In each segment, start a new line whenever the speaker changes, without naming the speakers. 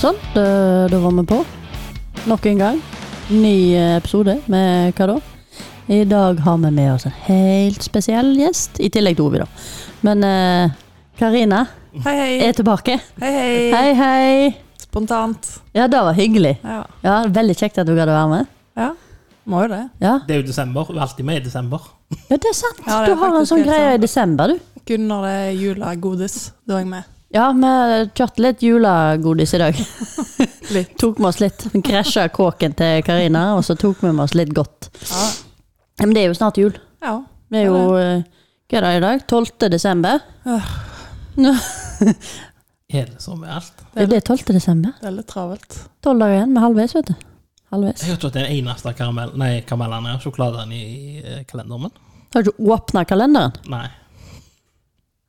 Sånn, da, da var vi på. Nok en gang. Ny eh, episode med hva da? I dag har vi med oss en helt spesiell gjest, i tillegg til Ovi, da. Men eh, Karina
Hei, hei.
er tilbake.
Hei, hei.
Hei, hei.
Spontant.
Ja, det var hyggelig.
Ja.
Ja, Veldig kjekt at du hadde være med.
ja. Må jo det.
Ja,
Det er jo desember. Vi er alltid med i desember.
ja det er sant.
Ja,
du
det er
har en
faktisk
sånn
helt
greie
sant.
i desember, du.
Kun når det er julegodis, da er jeg med.
Ja, vi kjørte litt julegodis i dag.
Litt.
Tok med oss litt. Vi Krasja kåken til Karina, og så tok vi med oss litt godt.
Ja.
Ja, Men det er jo snart jul.
ja.
Det er jo eh, Hva er det i dag? 12. desember?
Er det som er alt?
Er det 12. desember?
Det er litt travelt.
Tolv dager igjen med halvveis, vet du. Halvveis.
Jeg har ikke hatt den eneste karamell, nei, karamellen og sjokoladen i eh, kalenderen min.
Har du ikke åpna kalenderen?
Nei.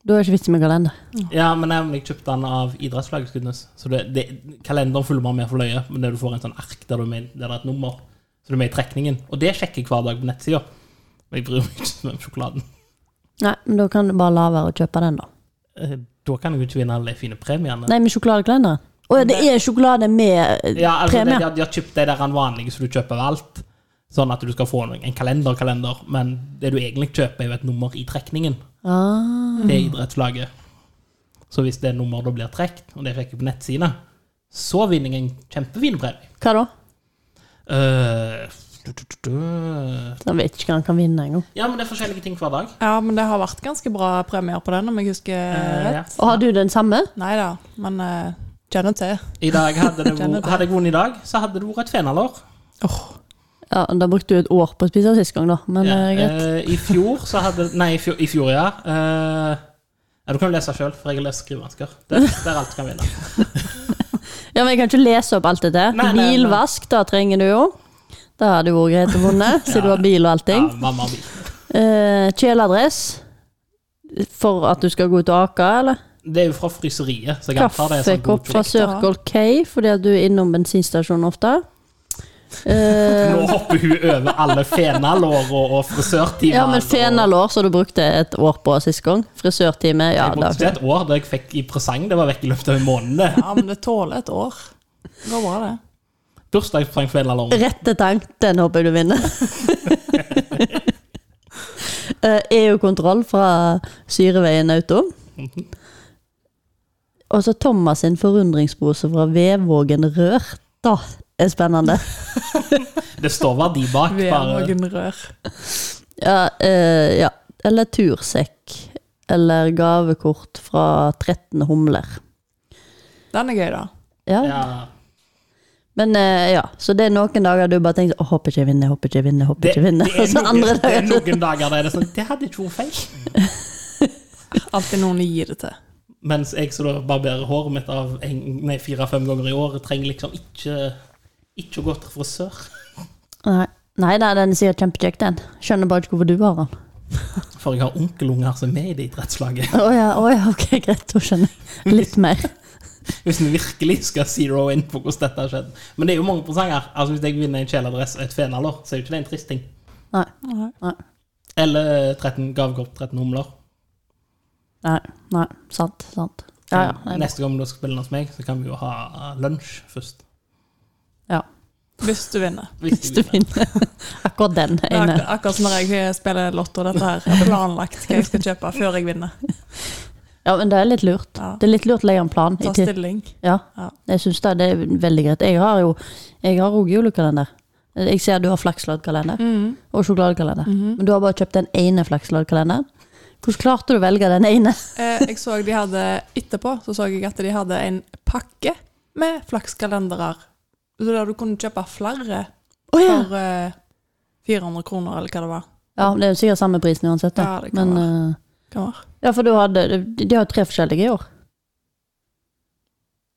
Da er det ikke vits med kalender.
Ja, men jeg, men jeg kjøpte den av idrettslaget Skudenes. Så det, det, kalenderen følger man med for løye, men det du får en sånn ark der, du er med, der det er et nummer. Så du er med i trekningen. Og det sjekker jeg hver dag på nettsida. Men jeg bryr meg ikke så mye om sjokoladen.
Nei, men da kan du bare la være å kjøpe den, da.
Eh, Da kan jeg jo ikke vinne alle de fine premiene.
Nei, med sjokoladekalenderen. Å ja, det er sjokolade med eh,
Ja, altså, de,
premie.
de, har- de har kjøpt de der vanlige som du kjøper ved alt. Sånn at du skal få en kalenderkalender, men det du egentlig kjøper, er jo et nummer i trekningen.
Ah.
Det er idrettslaget. Så hvis det nummeret da blir trukket, og det fikk jeg på nettsidene, så vinner jeg en kjempefin premie.
Hva da?
Eh, du, du, du, du.
Jeg vet ikke hva han kan vinne engang.
Ja, men det er forskjellige ting hver dag.
Ja, men det har vært ganske bra premier på den, om jeg husker
Eh, ja.
rett.
Og har du den samme?
Nei da, men eh, kjenner til.
I dag hadde, det
Kjenner
vært,
det.
hadde jeg vunnet i dag, så hadde det vært et fenalår.
Ja, Da brukte du et år på å spise sist gang, da. Men eh, greit.
Eh, I fjor så hadde Nei, i fjor, i fjor ja. Eh, ja. Du kan jo lese sjøl, for jeg har lest skrivevansker. Det, det er alt du kan vinne.
Ja, men Jeg kan ikke lese opp alt dette.
Nei, nei, nei.
Bilvask, da trenger du jo. Da hadde vært greit å vinne, siden du har bil og
Ja,
allting.
mamma og bil.
Eh, Kjeledress. For at du skal gå ut og ake, eller?
Det er jo fra fryseriet, så jeg antar det er sånn
Kaffekopp fra
godkjøpt.
Circle K, fordi at du er innom bensinstasjonen ofte.
Nå
Eh,
hopper hun over alle fenalår og, og frisørtimer.
ja, men fenalår som du brukte et år på sist gang. Frisørtime, ja.
Jeg
Da.
brukte et år det jeg fikk i presang. Det var vekk i løpet av en måned.
Ja, men det tåler et år. Det går bra, det.
Bursdagspresang for fenalår.
Rettetang, den håper jeg du vinner. Eh, EU-kontroll fra Syreveien Auto.
Mhm.
Og så Thomas sin forundringspose fra Vevågen Rør. Da er spennende.
Det står verdi bak. Bare.
Vevågen rør.
Ja, eh, ja. Eller tursekk. Eller gavekort fra 13 humler.
Den er gøy, da.
Ja.
Ja.
Men eh, ja, så det er noen dager du bare tenker Å, håper ikke jeg vinner, håper ikke jeg vinner, håper
Det,
ikke jeg vinner. Og så
noen,
andre
det er
dager
noen dager der det er sånn Det hadde ikke vært feil.
Alltid noen å gi det til.
Mens jeg som da barberer håret mitt av en- nei, fire-fem ganger i året, trenger liksom ikke ikke å gå til frisør.
Nei, nei da, den er sikkert kjempekjekk, den. Skjønner bare ikke hvorfor du har den.
For jeg har onkelunger som er med i det idrettslaget.
Å ja, å ja, ok, greit, da skjønner jeg litt mer.
Hvis vi virkelig skal zero in på hvordan dette har skjedd. Men det er jo mange presanger. Altså, hvis jeg vinner en kjeledress og et fenalår, så er jo ikke det en trist ting.
Nei.
Nei.
Nei.
Eller 13 gavekort, 13 humler.
Nei, nei sant. sant. Ja, ja. det er bra.
Neste gang du skal spille hos meg, så kan vi jo ha eh, lunsj først.
ja.
Hvis du vinner.
Hvis du vinner akkurat den
Det er
ene.
akkurat, akkurat som når jeg spiller lotto. Dette her er planlagt hva jeg skal kjøpe før jeg vinner.
Ja, men det er litt lurt.
Ja.
Det er litt lurt å legge en plan. i
Ta
tid-
stilling.
Ja,
Ja.
jeg syns det, det er veldig greit. Jeg har jo jeg har også julekalender. Jeg ser du har flaksloddkalender
Mm.
og sjokoladekalender.
Mhm.
Men du har bare kjøpt den ene flaksloddkalenderen. Hvordan klarte du å velge den ene?
Eh, jeg så de hadde etterpå så så jeg at de hadde en pakke med flakskalendere. Så der du kunne kjøpe flere
Oh,
for eh, 400 kroner, eller hva det var.
ja, det er jo sikkert samme prisen uansett. Da.
Ja, det kan
Men, eh,
Hva det var.
ja, for du hadde, de- de har jo tre forskjellige i år.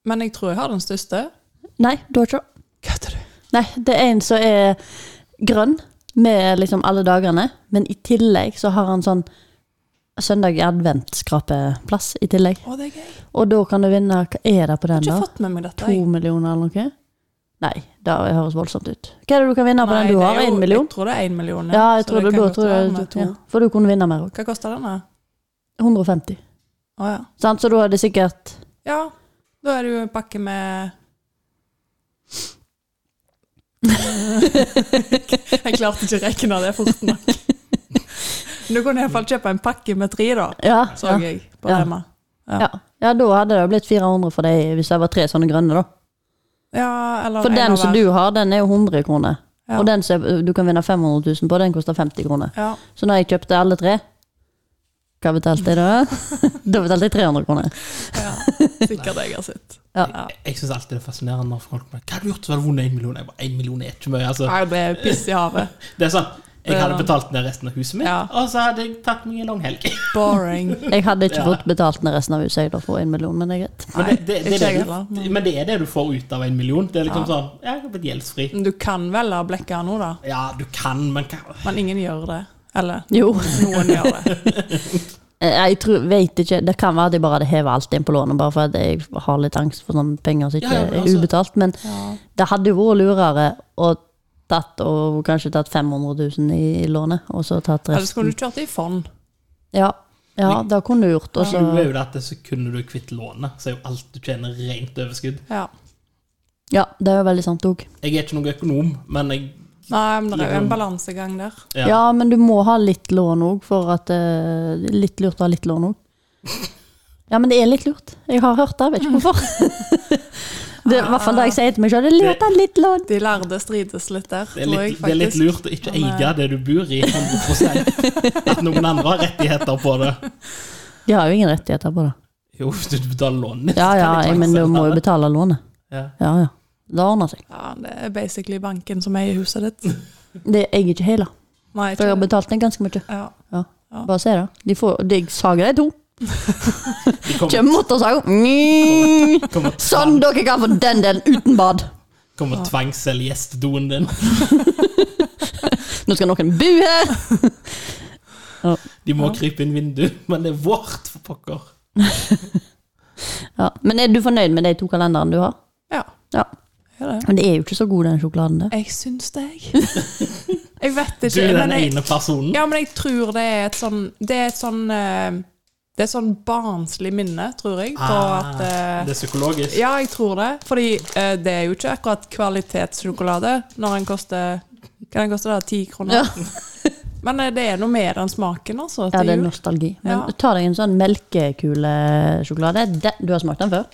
Men jeg tror jeg har den største.
Nei, du har ikke det.
Kødder du?
Nei, det er en som er grønn med liksom alle dagene, men i tillegg så har han sånn søndag i advent-skrapeplass i tillegg.
Å, det er gøy. Jeg
Og da kan du vinne Hva er det på den,
har
da?
ikke fått med meg dette.
To
jeg.
millioner eller noe? Nei, det høres voldsomt ut. Hva er det du kan vinne på
Nei,
den du
det er
har?
jo-
Én million?
Jeg tror det er én million.
Ja, jeg
så
tror det,
kan
da
godt
tror
være
jeg,
med to.
ja, For du kunne vinne mer òg.
Hva koster den, da?
150.
Å ja.
Sant? Så da er det sikkert
Ja, da er det jo en pakke med Jeg klarte ikke å regne det fort nok. Du kunne iallfall kjøpe en pakke med tre, da,
Ja,
så
ja.
jeg på
Ja.
Rema.
Ja. ja, da hadde det jo blitt 400 for deg hvis det var tre sånne grønne, da.
Ja, eller
For
en
den
av
som
hver.
du har, den er jo 100 kroner.
Ja.
Og den som du kan vinne 500 000 på, den koster 50 kroner.
ja.
Så når jeg kjøpte alle tre, hva betalte jeg da? da betalte jeg 300 kroner.
ja. Sikkert jeg har sett.
Ja.
Jeg, jeg syns alltid det er fascinerende når folk bare, Hva har du gjort så har du vunnet én million? Jeg bare, én million er ikke mye. Altså,
Nei, det er piss i havet.
det er sånn,
Det
jeg
er
hadde
det.
betalt ned resten av huset mitt,
Ja.
og så hadde jeg tatt meg en lang helg.
Boring.
Jeg hadde ikke
Ja.
fått betalt ned resten av huset jeg da for en million, men det er greit.
Men
Nei,
det, det,
ikke
det, er det,
jeg
du-
heller, men-
men det er det du får ut av en million. Det er
Ja.
liksom
Mm.
sånn ja, Jeg har blitt gjeldsfri.
Men Du kan vel ha blekka nå, da.
Ja, du kan, men hva
Men ingen gjør det. Eller
Jo,
noen gjør det.
eh, jeg tror, vet ikke, det kan være at jeg bare hadde hevet alt inn på lånet, bare for at jeg har litt angst for sånne penger som ikke
Ja, ja, men
er
altså-
ubetalt. Men
Ja.
det hadde jo vært lurere å tatt, og kanskje tatt 500 000 i, i lånet, og så tatt
Eller så
resten.
kunne du kjørt det i fond.
Ja, ja det kunne du gjort. Og så,
Du er jo det at det så kunne du kvitt lånet, så er jo alt du tjener, rent overskudd.
Ja.
ja, det er jo veldig sant òg.
Jeg er ikke noen økonom, men jeg
Nei, men det er jo en balansegang der.
Ja. men du må ha litt lån òg, for at eh, det er Litt lurt å ha litt lån òg. Ja, men det er litt lurt. Jeg har hørt det, jeg vet ikke hvorfor. det er i hvert fall det jeg sier til meg sjøl. Det er lurt å ha litt lån.
De lærde strides litt der,
Det er,
tror jeg
litt,
faktisk.
det er litt lurt å ikke
Men, eh,
eie det du bor i, 100 At noen andre har rettigheter på det.
De har jo ingen rettigheter på det.
Jo, hvis du betaler lånet ditt,
Ja,
så
ja,
kan de
jeg,
tvangsselge
men du må jo
det.
betale lånet.
Ja.
Ja, ja. Det ordner seg.
Ja, det er basically banken som eier huset ditt.
Det er jeg ikke heller.
Nei,
For jeg har
ikke
betalt den ganske mye.
ja.
Bare se det. De, får, de sager de to.
De kommer,
Kjem motorsag. Mm.
kommer,
Sånn,
tvang,
dere kan få den delen uten bad.
kommer tvangsselge gjestedoen din.
Nå skal noen bu her.
De må krype inn vinduet, men det er vårt, for pokker.
Ja. Men er du fornøyd med de to kalenderne du har?
ja.
Ja.
Gjør det.
Men det er jo ikke så god, den sjokoladen der.
Jeg syns det, jeg. Jeg vet
Du
ikke.
er den
men jeg,
ene personen.
ja, men jeg tror det er et sånn Det er et sånn eh, Det er et sånn barnslig minne, tror jeg, på
Ah,
at eh,
det er psykologisk.
Ja, jeg tror det. Fordi eh, det er jo ikke akkurat kvalitetssjokolade når den koster Hva den koster da? Ti kroner?
Ja.
Men eh, det er noe med den smaken, altså.
Ja,
til
det er
jul.
nostalgi. Men
Ja.
ta deg en sånn melkekulesjokolade. Den- Du har smakt den før?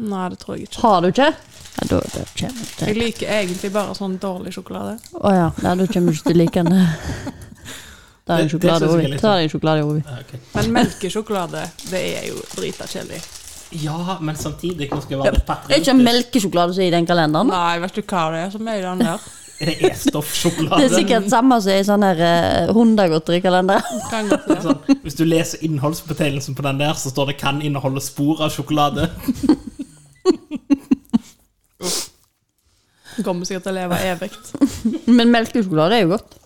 Nei, det tror jeg ikke.
Har du ikke? Ja, da, da kommer du
Jeg
til
liker egentlig bare sånn dårlig sjokolade.
Å ja. ja, da kommer du ikke til å like den. Ta deg en
Det- det synes
sjokolade,
jeg er
Ovi.
litt
Ta deg en sjokolade, Ovi.
Ah, ok.
Men melkesjokolade, det er jo drita kjedelig.
Ja, men samtidig nå skal jeg være litt
Det er
patriotisk.
ikke melkesjokolade som er i den kalenderen. da.
Nei, vet du hva det er som er i den der?
Det er stoffsjokolade.
Det er sikkert samme som i sånn her eh, hundegodterikalender.
Kan godt
Det
være.
er Sånn, hvis du leser innholdsbetegnelsen på den der, så står det 'kan inneholde spor av sjokolade'.
Den Kommer sikkert til å leve evig.
Men melkesjokolade er jo godt.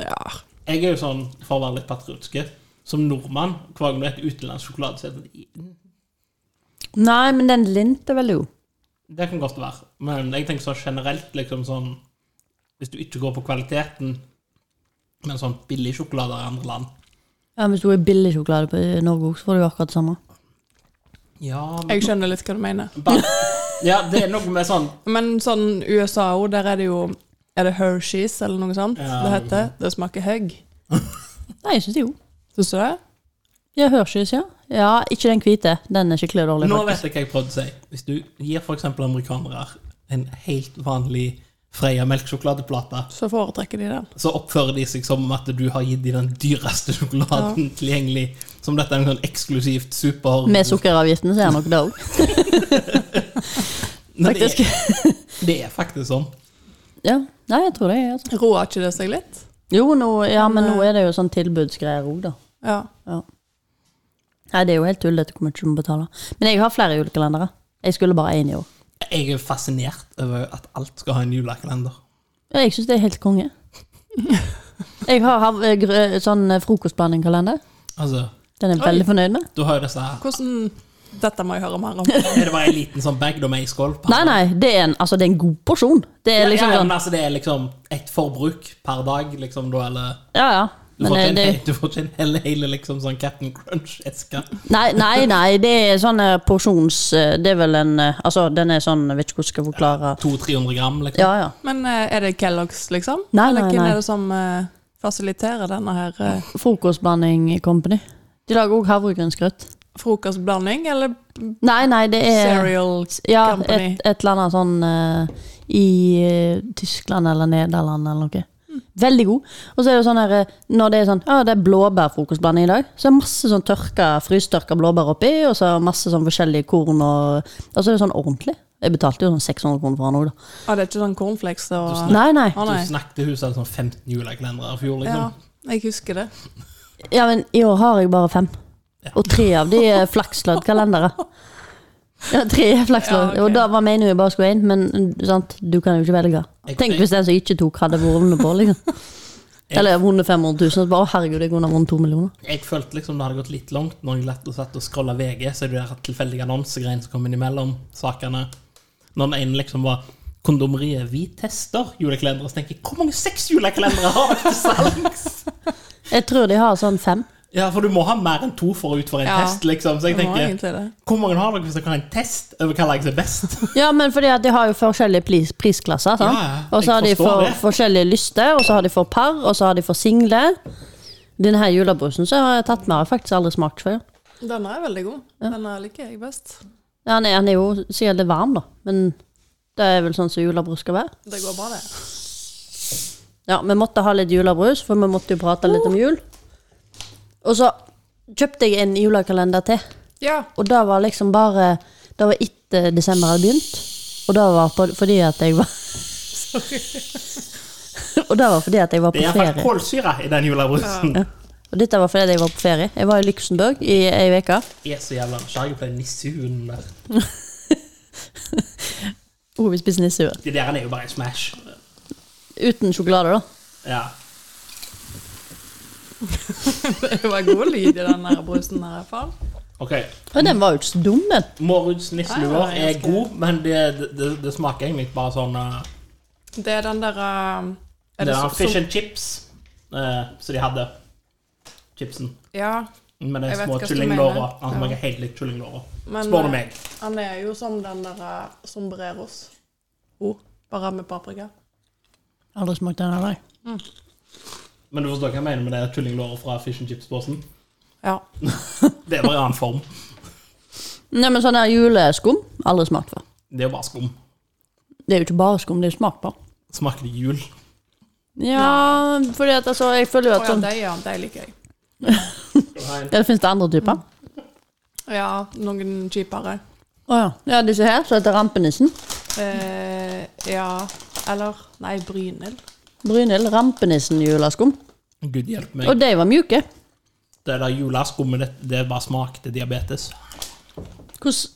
Ja.
Jeg er jo sånn, for å være litt patriotisk, som nordmann hver gang det er et utenlandsk sjokolade, så er det
Nei, men den lint er veldig god.
Det kan godt være. Men jeg tenker sånn generelt, liksom sånn Hvis du ikke går på kvaliteten, men sånn billig sjokolade i andre land
Ja, Hvis du er billig sjokolade på i Norge også, så får du jo akkurat det samme.
Ja, men-
Jeg skjønner litt hva du mener.
Bare- ja det er noe med sånn
Men sånn USA òg, der er det jo Er det Hershey's eller noe sånt
Ja.
det heter? Det smaker høgg.
Nei, jeg syns jo.
Syns du det?
Ja, Hershey's, ja. Ja, ikke den hvite. Den er skikkelig dårlig.
Nå
faktisk.
vet jeg hva jeg prøvde å si. Hvis du gir f.eks. amerikanere en helt vanlig Freia melkesjokoladeplate,
Så foretrekker de den.
så oppfører de seg som om at du har gitt dem den dyreste sjokoladen tilgjengelig. Som dette er en sånn eksklusivt super
Med sukkeravgiften så er den nok det òg.
Men det,
Faktisk.
er, det er faktisk sånn.
Ja. Nei, jeg tror det. er, Altså.
Roer ikke det seg litt?
Jo, nå, ja, men nå er det jo sånn tilbudsgreier òg, da.
Ja.
Ja. Nei, det er jo helt tullete hvor mye du må betale. Men jeg har flere julekalendere. Jeg skulle bare én i år.
Jeg er fascinert over at alt skal ha en julekalender.
Ja, jeg syns det er helt konge. Jeg har hav- eh, grø- sånn eh, frokostblandingkalender.
Altså,
Den er jeg
Oi.
veldig fornøyd med.
du har jo disse her.
Hvordan Dette må jeg høre mer om.
Er det bare en liten sånn bag da med ei skål? per-
Nei, nei, det er en, altså, det er en god porsjon. Det
Ja,
er liksom
ja,
sånn
men altså, det er liksom ett forbruk per dag, liksom, da, eller
Ja, ja.
Du
Men eh,
får, ikke en,
det-
hel- du får ikke en hel, hele liksom, sånn Captain Crunch-eske.
Nei, nei, nei, det er sånn eh, porsjons... eh, Det er vel en eh, Altså, den er sånn Jeg vet ikke hvordan jeg skal forklare.
200-300 gram, liksom.
Ja, ja.
Men eh, er det Kellogg's, liksom?
Nei,
Eller
nei,
hvem
nei.
er det som eh, fasiliterer denne her eh,
Frokostblanding company. De lager òg havregrynsgrøt.
frokostblanding, eller
Nei, nei, det er
cereal?
Eh, Ja,
Company.
et, et eller annet sånn eh, i eh, Tyskland eller Nederland eller noe. Veldig god. Og så er det sånn her eh, Når det er sånn Ja, det er blåbærfrokostblanding i dag, så er det masse sånn tørka, frystørka blåbær oppi, og så er det masse sånn forskjellige korn og Og så er det sånn ordentlig. Jeg betalte jo sånn 600 kroner for han òg, da.
Ah, det er ikke sånn cornflakes og
Nei, nei.
Å, nei.
Du snakket huset hadde sånn 15 julekalendere i fjor,
Ja,
liksom.
jeg husker det.
Ja, men i år har jeg bare fem. Og tre av de er flaksloddkalendere. Ja, tre er
Ja,
flakslodd.
ok.
Og da var meningen jeg bare skulle inn, men sant, du kan jo ikke velge.
Jeg-
Tenk hvis den som ikke tok, hadde vunnet på, liksom. Eller vunnet 500 000, og så bare å herregud, jeg kunne ha vunnet to millioner.
Jeg følte liksom det hadde gått litt langt når jeg lett og satt og scrolla VG, så er det der tilfeldige annonsegreiene som kom innimellom sakene. Når den ene liksom var Kondomeriet Vi tester julekalendere, så tenker jeg hvor mange sexjulekalendere har dere til salgs?
Jeg tror de har sånn fem.
Ja, for du må ha mer enn to forut for en
Ja.
test, liksom. Så jeg
Det var
tenker
egentlig det.
hvor mange har dere hvis dere har en test over hva lag som er best?
Ja, men fordi at de har jo forskjellige pris prisklasser, sant?
Ja, ja,
og så
jeg
har de
forstår
for
det.
forskjellige lyster, og så har de for par, og så har de for single. Denne her julebrusen så har jeg tatt med, har jeg faktisk aldri smakt før.
Denne er veldig god. Denne liker jeg best.
Ja, Han er, han er jo sikkert litt varm, da. Men det er vel sånn som julebrus skal være.
Det går bra, det.
Ja, vi måtte ha litt julebrus, for vi måtte jo prate litt om jul. Og så kjøpte jeg en julekalender til,
Ja.
og det var liksom bare Det var etter desember hadde begynt, og det var på, fordi at jeg var Og det var fordi at jeg var
Det er
på
iallfall
ferie.
kålsyre i den julebrusen.
Og dette var fordi at jeg var på ferie. Jeg var i Luxembourg i ei uke.
Jeg er så jævla nysgjerrig på den nissehunden der.
Og Oh, vi spiste nissehue.
De der er jo bare en smash.
Uten sjokolade, da.
Ja.
Det var god lyd i den her brusen her, i hvert fall.
OK.
Men den var jo ikke så dum, den.
Måruds nisseluer
Ah, Ja, ja,
er
jeg skal-
god, men det, det, det smaker egentlig bare sånn eh,
Det er den der eh, er
Det
så-
er fish
så-
and chips eh, som de hadde. Chipsen.
Ja,
Med de
Jeg vet
små
hva du
kyllinglåra.
mener.
Han
Ja.
smaker helt likt kyllinglåra.
men
Spør du
eh,
meg.
han er jo som den der eh, sombreros. Oh, bare med paprika.
Aldri smakt den heller.
Men du forstår hva jeg mener med det kyllinglåra fra fish and chips-posen?
Ja.
Det er bare en annen form.
Nei, men sånn her juleskum Aldri smakt før.
Det er jo bare skum.
Det er jo ikke bare skum, det er jo smak på.
Smaker det jul?
Ja, fordi at altså, jeg føler jo
Å
at
ja,
sånn
de, ja, de liker jeg.
Skal du ha en?
Ja, det finnes det andre typer.
Ja, noen kjipere.
Å ja. ja. Disse her, som heter rampenissen.
Eh, ja, eller Nei, Brynhild.
Brynhild. Rampenissen-juleskum.
Gud hjelpe
Og
meg.
de var mjuke.
Det der juleskummet, det, det bare smakte diabetes.
Hvordan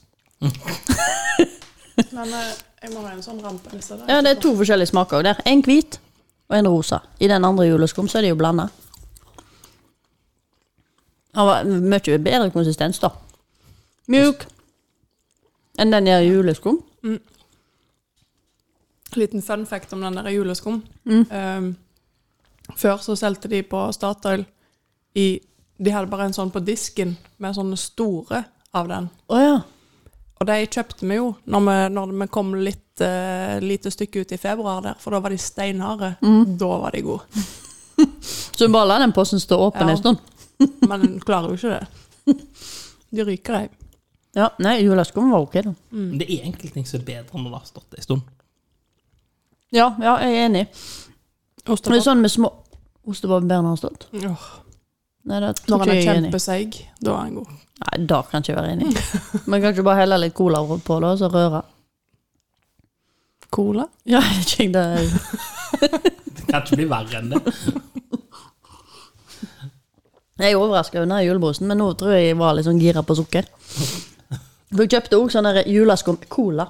Men eh, jeg må ha en sånn rampenisse. der.
Ja, det er to forskjellige smaker der. En hvit og en rosa. I den andre juleskum så er de jo blanda. Han var mye bedre konsistens, da. Mjuk. Enn den der juleskum.
liten fun fact om den der juleskum.
Mm.
Um, før så solgte de på Statoil i De hadde bare en sånn på disken med sånne store av den.
Å ja.
Og de kjøpte vi jo når vi, når vi kom litt eh, lite stykke ut i februar der, for da var de steinharde.
Mm.
Da var de gode.
Så vi bare la den posten stå åpen
Ja.
en stund.
Men en klarer jo ikke det. De ryker, de.
Ja, nei, juleskum var ok, da.
Men det er enkelte ting som er bedre enn å ha stått det en stund.
Ja, ja, jeg er enig. Men det er
Ostepop.
sånn med små Ostebob bedre enn han har stått?
Åh,
Nei, det tror
Når
ikke
han er
jeg er enig i.
kjempeseig, da er han god.
Nei, da kan jeg ikke være enig. i. Man kan ikke bare helle litt cola over på det, og så røre.
Cola?
Ja, jeg tenker det er-
Det kan ikke bli verre enn det.
Jeg er overraska under julebrusen, men nå tror jeg jeg var litt sånn gira på sukker. For jeg kjøpte òg sånn der juleskum cola.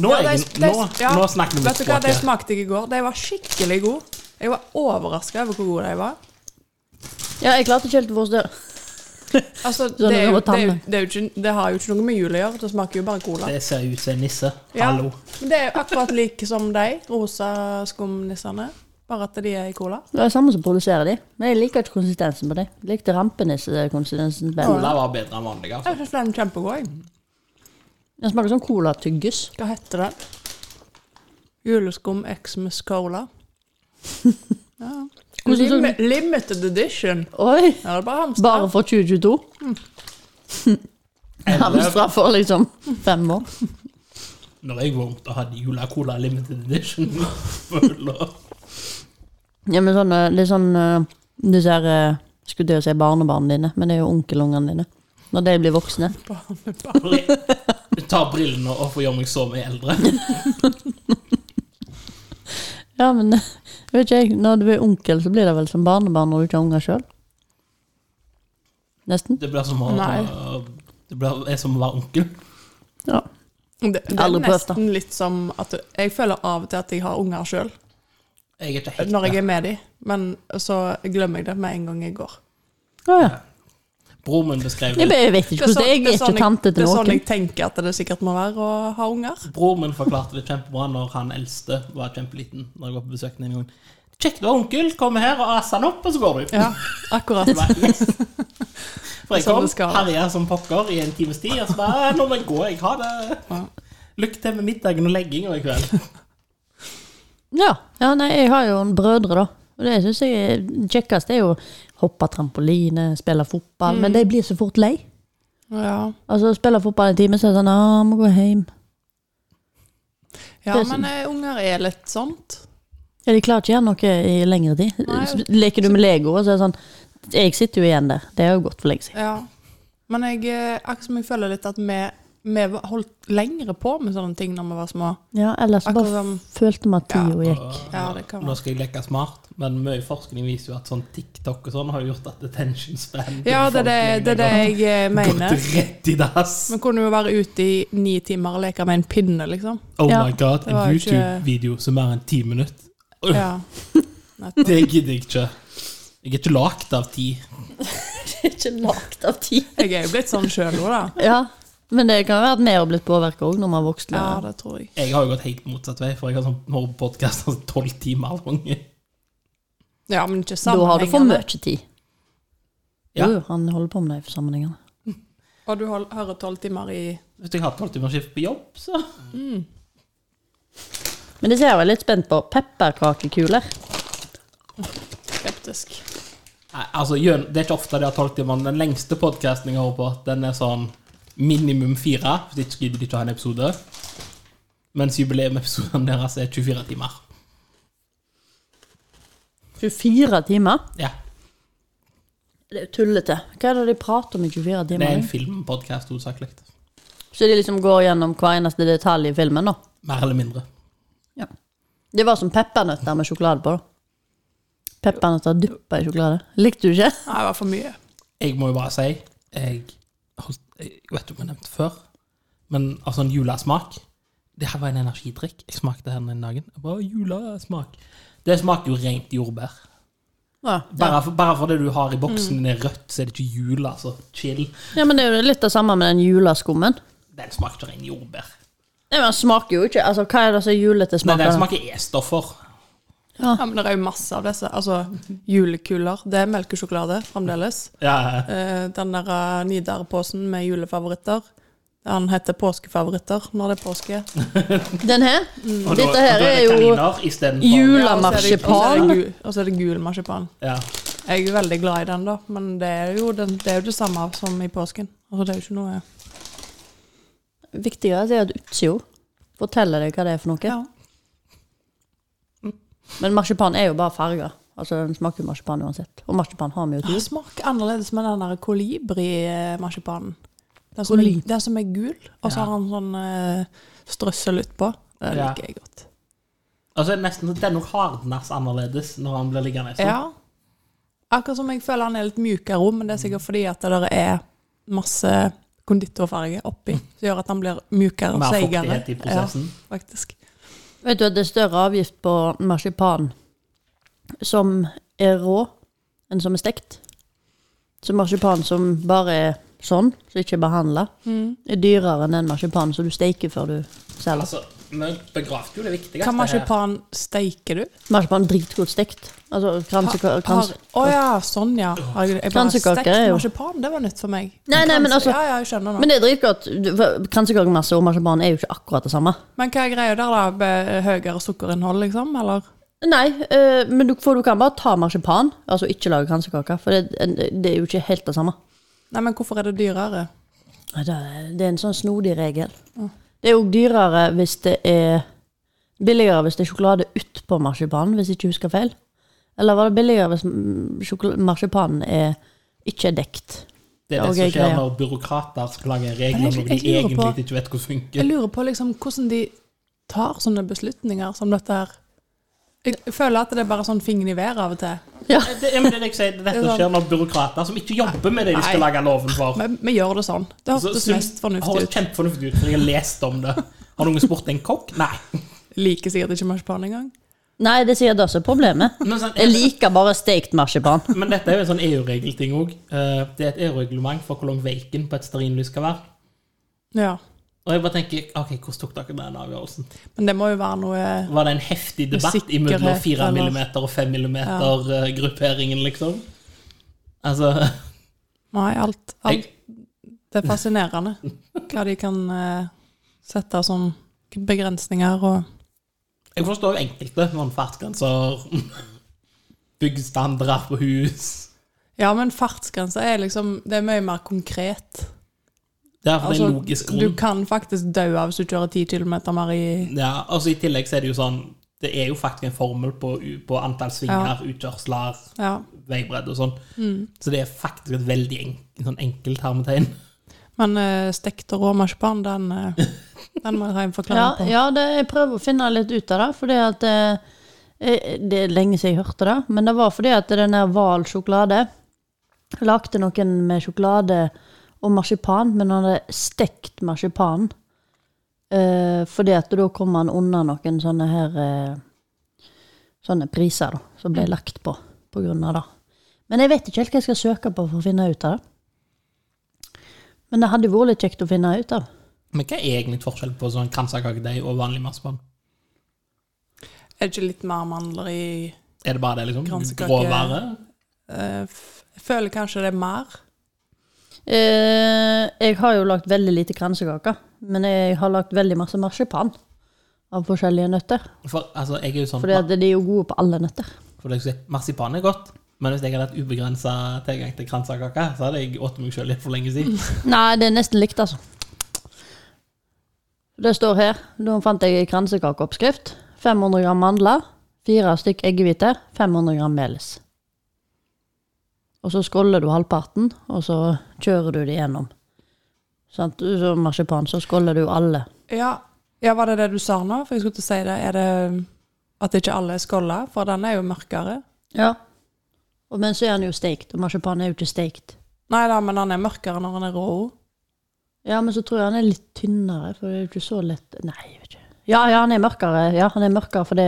Nå,
Ja,
er
de-
jeg,
de-
nå,
ja,
nå snakker vi
Vet du hva, de
språket.
smakte jeg i går. De var skikkelig gode. Jeg var overraska over hvor gode de var.
Ja, jeg klarte ikke helt å forstå
Altså,
Sånn
det, er jo,
over
det, er jo,
tannene.
det, er jo ikke, det har jo ikke noe med jul å gjøre. Det smaker jo bare cola.
Det ser ut som en nisse.
Ja,
Hallo.
men det er jo akkurat like som de rosa skumnissene. Bare at de er i cola.
Det er samme som produserer de. Men jeg liker ikke konsistensen på de. Jeg likte rampenissekonsistensen bedre.
Cola var bedre enn vanlig. altså.
Jeg syns den er kjempegod. jeg.
Den smaker sånn colatygges.
Hva heter den? Juleskum Xmas Cola. Ja.
Hvordan sånn-
Limi- limited edition.
Oi!
Ja, det er bare hamster.
Bare for 2022. Hamstra for liksom fem år.
Når jeg var ung, da hadde Jula Cola Limited Edition. Føler.
Ja, men sånn, eh, det er sånn eh, Disse her eh, Skulle til å si barnebarna dine, men det er jo onkelungene dine. Når de blir voksne.
Barnebarn.
Ta brillene og få gjøre meg så mye eldre.
Ja, men eh, vet ikke jeg, når du blir onkel, så blir det vel som barnebarn når du ikke har unger sjøl? Nesten.
Det blir som å
Nei.
Det blir, er som å være onkel.
Ja.
Det, det er
Aldri prøvd, da.
nesten litt som at Jeg føler av og til at jeg har unger sjøl
Jeg er ikke helt
når
der.
jeg er med dem, men så glemmer jeg det med en gang jeg går.
Å ja.
Broren min beskrev
Jeg,
det.
bare- jeg vet ikke
Det er
hvordan
sånn-
Jeg er
det er sånn
ikke tante til
Det er sånn
noen.
jeg tenker at det sikkert må være å ha unger.
Broren min forklarte det kjempebra når han eldste var kjempeliten. Når jeg var på besøk den ene gangen. Kjekt å ha onkel. Kom her og ass han opp, og så går du.
Ja, akkurat.
Det var yes. For jeg
Sånn
kom,
det skal.
herja som pokker i en times tid, og så bare Nå må jeg gå, jeg har det.
Ja.
Lykke til med middagen og legginga i kveld.
Ja. ja, nei, jeg har jo en brødre, da. Og det syns jeg er kjekkest er jo å hoppe trampoline, spille
Mm.
fotball. Men de blir så fort lei.
Ja,
Altså, spiller fotball en time, så er det sånn ah, 'Må gå hjem'.
ja
sånn.
men eh, unger er litt sånt.
Ja, de klarer ikke å gjøre noe i lengre tid.
Nei. altså,
S- Leker du med Lego, og så er det sånn Jeg sitter jo igjen der. Det er jo gått for lenge siden.
Ja. Men jeg, eh, akkurat som jeg føler litt at vi, vi holdt lengre på med sånne ting når vi var små.
Ja, ellers så
Akkurat
bare
som
følte vi at
Ja.
tida gikk.
Ja, det kan
Nå
være.
skal jeg leke smart, men mye forskning viser jo at sånn TikTok og sånn har gjort at attention span til
Ja, det er det, det, er det
befolkningen
jeg eh,
har
mener.
Gått rett i dass.
Vi kunne jo være ute i ni timer og leke med en pinne, liksom.
Oh
Ja,
my god,
det
en
var ikke-
YouTube-video som er en ti minutter.
Ja.
Det gidder jeg ikke. Jeg er ikke lagd av ti.
ikke lagt av tid.
Jeg er jo blitt sånn sjøl nå, da.
Ja, men det kan jo være at vi har blitt påvirka òg når vi har vokst.
Ja,
litt.
det tror jeg.
Jeg har jo gått helt motsatt vei, for jeg har sånn podkast altså, tolv timer lange.
Ja, men ikke
da har du for
sammenhengende.
mye tid.
Ja.
Jo, jo, han holder på med det i sammenhengene.
Og du hold- hører tolv timer i
Hvis jeg har tolv timers skift på jobb, så
Men det ser jeg vel litt spent på. Pepperkakekuler.
skeptisk.
Nei, altså, gjør- Det er ikke ofte de har tolv timer. men Den lengste podkasten jeg hører på, den er sånn minimum fire. Hvis ikke gidder de ikke å ha en episode. Mens jubileumepisoden deres er 24 timer.
24 timer.
Ja,
Det er jo tullete. Hva er det de prater om i 24
Det er
timer?
en filmpodkast, hovedsakelig.
Så de liksom går gjennom hver eneste detalj i filmen, da?
Mer eller mindre.
Ja. Det var som peppernøtter med sjokolade på, da. Peppernøtter dyppa i sjokolade. Likte du ikke?
Nei, det var for mye.
Jeg må jo bare si Jeg, holdt, jeg vet ikke om jeg nevnte før, men av sånn julesmak Det her var en energidrikk. Jeg smakte her den ene dagen. Jeg bare, julesmak. Det smaker jo rent jordbær.
Ja. Mm.
Bare, for, bare for det du har i boksen, det er rødt, så er det ikke jul. altså. Chill.
men det er jo litt det samme med den julaskummen.
Den smaker ikke ren jordbær.
Nei, men den smaker jo ikke Altså, hva er det som er julete
Nei, den
smaker?
smaker E-stoffer.
Ja, men det er jo masse av disse. Altså, julekuler. Det er melkesjokolade fremdeles.
Ja,
Eh, Den der eh, Nidar-posen med julefavoritter. Han heter påskefavoritter når det er påske.
Den her?
og da-
Mm. Dette her
og da
er jo
kaniner istedenfor-
jul-
Ja,
Julemarsipan.
og så er det- og så er det gu- Og så er det gul marsipan.
Ja.
Jeg er jo veldig glad i den, da. Men det er jo, den, det, er jo det samme som i påsken. Altså, det er jo ikke noe
Viktigere er at utsida forteller deg hva det er for noe.
Ja.
Men marsipan er jo bare farger. Altså, den smaker jo marsipan uansett. Og marsipan har vi jo
Det
til jul.
smaker annerledes med den der kolibri-marsipanen. Den, som er-
Kolibri.
den som er gul, og så
Ja.
har han sånn eh, strøssel utpå. Det
Ja.
liker jeg godt.
Altså, nesten, Den nok hardnes annerledes når han blir liggende. sånn.
Ja. Akkurat som jeg føler han er litt mjukere rom, men det er sikkert fordi at det der er masse konditorfarge oppi, som gjør at han blir mjukere og
Mer
seigere.
fuktighet i prosessen.
Ja, faktisk.
Vet du at det er større avgift på marsipan som er rå, enn som er stekt? Så marsipan som bare er sånn, som ikke er behandla, er dyrere enn den marsipanen som du steiker før du selger.
Altså, Vi begravde jo det viktigste
Hva marsipan steiker du?
Marsipan dritgodt stekt. Altså kransekake
Å ja, sånn ja. Herregud, jeg bare
Kransekaker
stekt
er jo-
marsipan, det var nytt for meg.
Nei, nei, men
Kranse-
altså-
Ja, ja, jeg skjønner nå.
Men det er dritgodt. Kransekakemasse og marsipan er jo ikke akkurat det samme.
Men hva er greia der, da? Be- Høyere sukkerinnhold, liksom? Eller?
Nei, eh, men du, for du kan bare ta marsipan, altså ikke lage kransekake. For det, det er jo ikke helt det samme.
Nei, men hvorfor er det dyrere?
Nei, Det er, det er en sånn snodig regel. Det er jo dyrere hvis det er billigere hvis det er sjokolade utpå marsipanen, hvis jeg ikke husker feil. Eller var det billigere hvis mm, sjokol- marsipanen er ikke er dekt?
Det er det
Ok,
som skjer
greia.
når byråkrater lager
Men
regler
jeg-
når de
jeg lurer
egentlig
på-
ikke vet
Jeg
hvordan funker.
lurer på liksom hvordan de tar sånne beslutninger som dette her. Jeg føler at det er bare sånn fingeren i været av og til.
Det, ja, men det er det jeg sier, det er dette som skjer når byråkrater som ikke jobber med det de skal
Nei.
lage loven for.
Men vi gjør det sånn. Det
Så
hørtes
syns-
mest
høres
fornuftig ut.
kjempefornuftig ut, for jeg har lest om det. Har noen spurt en kokk? Nei.
Liker sikkert ikke marsipan engang.
Nei, det sier det som er problemet.
Men, sånn,
Jeg liker bare stekt marsipan.
men dette er jo en sånn EU-regelting òg. Det er et EU-reglement for hvor lang bacon på et stearinlys skal være.
Ja.
Og jeg bare tenker, ok, hvordan tok dere den avgjørelsen?
Men det må jo være noe
Var det en heftig debatt
Sikkerhet,
imellom 4
eller?
mm og 5 mm-grupperingen, liksom? Altså
Nei, alt. alt.
jeg,
Det er fascinerende hva de kan eh, sette som begrensninger og
jeg forstår jo enkelte. Noen fartsgrenser, byggstandarder på hus
Ja, men fartsgrenser er liksom Det er mye mer konkret.
Det er altså,
Altså,
en logisk
du
grunn.
kan faktisk dø av hvis du kjører 10 km mer i
Ja, altså, I tillegg så er det jo sånn Det er jo faktisk en formel på, u- på antall svinger, utkjørsler,
Ja.
veibredde og sånn. Så det er faktisk et veldig en, sånn enkelt hermetegn.
Men eh, stekt og rå marsipan, den, eh, den må jeg ha en
Ja,
forklaring på.
ja det, jeg prøver å finne litt ut av det. Fordi at eh, eh, Det er lenge siden jeg hørte det, men det var fordi at den der Hval sjokolade lagde noen med sjokolade og marsipan, men han hadde stekt marsipanen. Eh, fordi at da kom han unna noen sånne her eh, Sånne priser da, som ble lagt på på grunn av det. Men jeg vet ikke helt hva jeg skal søke på for å finne ut av det. Men det hadde vært litt kjekt å finne ut av.
Men hva er egentlig forskjellen på sånn kransekakedeig og vanlig marsipan?
Er det ikke litt mer mandler i
Er det bare det, liksom?
Kransekake-
Råvare?
eh, f- Jeg føler kanskje det er mer.
Eh, jeg har jo lagd veldig lite kransekaker, men jeg har lagd veldig masse marsipan av forskjellige nøtter.
For altså, jeg er jo sånn
For de er jo gode på alle nøtter.
For det jeg skulle si, marsipan er godt, men hvis jeg hadde hatt ubegrensa tilgang til kransekake, så hadde jeg ått meg sjøl litt for lenge siden.
Nei, det er nesten likt, altså. Det står her. Nå fant jeg en kransekakeoppskrift. 500 gram mandler, fire stykk eggehvite, 500 gram melis. Og så skåller du halvparten, og så kjører du det gjennom. Sant? Så marsipan, så skåller du alle.
Ja. ja, var det det du sa nå? For jeg skulle til å si det. Er det at ikke alle er skålla? For den er jo mørkere.
Ja. Og, men så er den jo steikt, og marsipan er jo ikke steikt.
Nei da, men den er mørkere når den er rå.
Ja, men så tror jeg han er litt tynnere, for det er jo ikke så lett Nei, jeg vet ikke. Ja, ja, han er mørkere. Ja, han er mørkere for det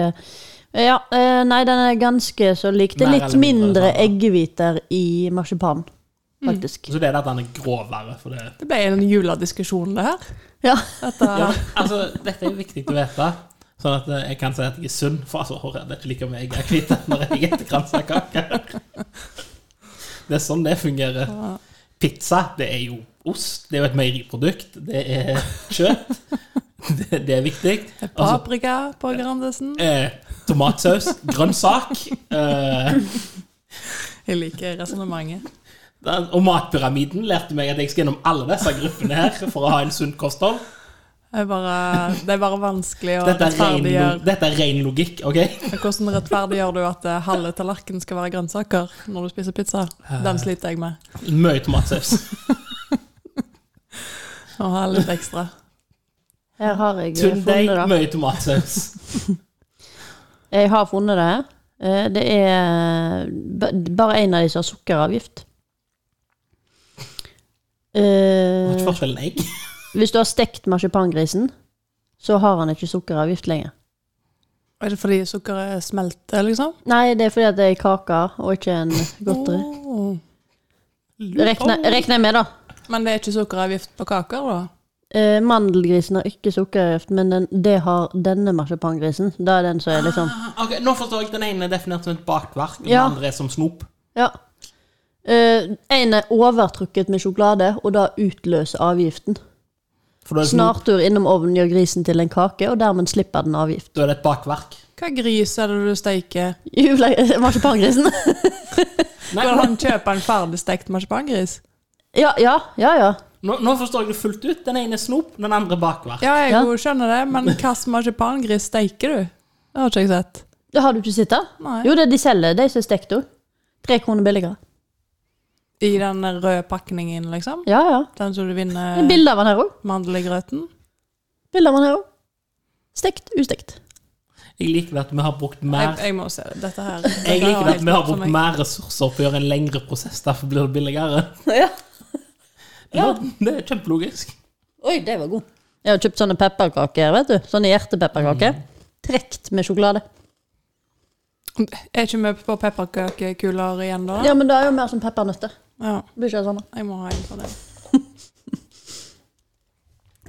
Ja, eh, nei, den er ganske så lik. Det er
Mer
litt
eller mindre
mindre
samme.
eggehviter i marsipan, faktisk.
Så det er det at den er gråvare for det.
Det ble en julediskusjon, det her.
Ja.
Dette,
Ja, men, altså, dette er jo viktig å vite, sånn at eh, jeg kan si at jeg er sunn. For altså, hår er det ikke like mye jeg er kvitt når jeg spiser kransekake. Det er sånn det fungerer. Pizza, det er jo ost. Det er jo et meieriprodukt. Det er kjøtt. Det, det er viktig. Altså,
Paprika på Grandisen.
eh, tomatsaus, grønnsak eh,
Jeg liker resonnementet.
den- Og matpyramiden lærte meg at jeg skal gjennom alle disse gruppene her for å ha en sunt kosthold.
Det er bare- det er bare vanskelig å
Dette er ren,
rettferdiggjøre
lo- dette er ren logikk, OK?
Men Hvordan rettferdiggjør du at eh, halve tallerkenen skal være grønnsaker når du spiser pizza?
Eh.
Den sliter jeg med.
Mye tomatsaus.
Å ha litt ekstra.
Her har jeg eh,
Tundeig,
funnet det.
mye tomatsaus.
Jeg har funnet det her. Eh, Det er ba- bare en av de som har sukkeravgift.
Hva er
Eh,
forskjellen egg?
Hvis du har stekt marsipangrisen, så har han ikke sukkeravgift lenger.
Er det fordi sukkeret smelter, liksom?
Nei, det er fordi at det er kake og ikke en godteri.
Åh.
Rekner jeg med, da.
Men det er ikke sukkeravgift på kaker, da?
eh, mandelgrisen har ikke sukkergift, men den, det har denne marsipangrisen. Da er den som er liksom
Ah, ok, nå forstår jeg. Den ene er definert som et bakverk, og
Ja.
den andre er som snop.
Ja. Eh, en er overtrukket med sjokolade, og da utløser avgiften.
For da er, snop,
Snartur innom ovnen gjør grisen til en kake, og dermed slipper den avgift.
da er det et bakverk.
Hva gris er det du steiker?
Jule eh, marsipangrisen.
Nei,
Går det
nå,
an å kjøpe en ferdigstekt marsipangris?
ja, ja, ja, ja.
nå- nå forstår jeg det fullt ut. Den ene er snop, den andre er bakverk.
Ja, jeg
Ja.
jo skjønner det, men hvilken marsipangris steiker du? Det har ikke jeg sett.
Det har du ikke sett, da?
Nei.
Jo, det er de selger, de som er stekt òg. Tre kroner billigere.
I den røde pakningen, liksom?
Ja, ja.
Den som du
Det er
vinner
bilde av den her òg.
mandel i grøten?
Bilde av den her òg. Stekt, ustekt.
Jeg liker det at vi har brukt
Jeg,
mer
jeg må se dette her. Dette
Jeg liker
var
det at
helt
vi har
nytt for
brukt
meg.
mer ressurser på å gjøre en lengre prosess, derfor blir det billigere.
ja.
Ja, Det er kjempelogisk.
Oi, det var god. Jeg har kjøpt sånne pepperkaker, vet du. Sånne hjertepepperkaker. Trekt med sjokolade.
Er ikke vi på pepperkakekuler igjen, da?
Ja, men det er jo mer som peppernøtter.
Ja,
Det Blir ikke det samme.
jeg må ha en for det.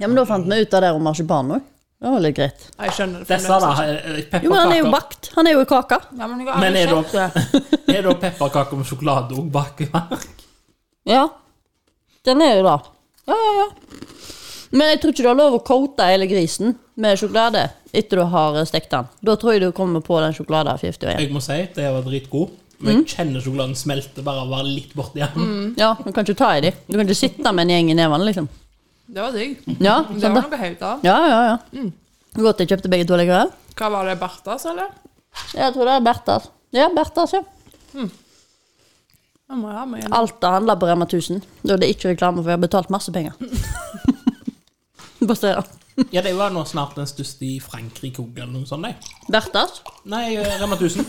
Ja, men da fant vi ut av det om marsipan òg. Det var litt greit.
Jeg skjønner det.
Disse da,
fremdeles ikke.
eh,
Jo, men han er jo
pepperkaker
bakt. Han er jo i kaka.
Ja, men jeg
Men
har
er det-
aldri sett det.
Er da pepperkaker med sjokolade og bakverk?
Ja. Den er jo da. Ja, ja, ja. Men jeg tror ikke du har lov å coate hele grisen med sjokolade etter du har eh, stekt den. Da tror jeg du kommer på den sjokoladeavgiften igjen.
Jeg må si, det var dritgod. Men jeg kjenner sjokoladen smelte bare av å være litt borti den.
Ja, du kan ikke ta i de. Du kan ikke sitte med en gjeng i nevene, liksom.
Det var digg.
Mm.
Ja,
Det
Sånn
sant
var
det.
noe helt annet.
Ja, ja, ja.
Mm.
Godt jeg kjøpte begge to likevel.
Hva var det, Berthas, eller?
Jeg tror det er Berthas. Ja, Berthas, ja.
Jeg må ha
Ah,
med en.
Alt er handla på Rema 1000. Da er det ikke reklame, for jeg har betalt masse penger. Bare se, da.
Ja, det var nå snart den største i Frankrike også, eller noe sånt. Nei,
Berthas.
nei eh, Rema 1000.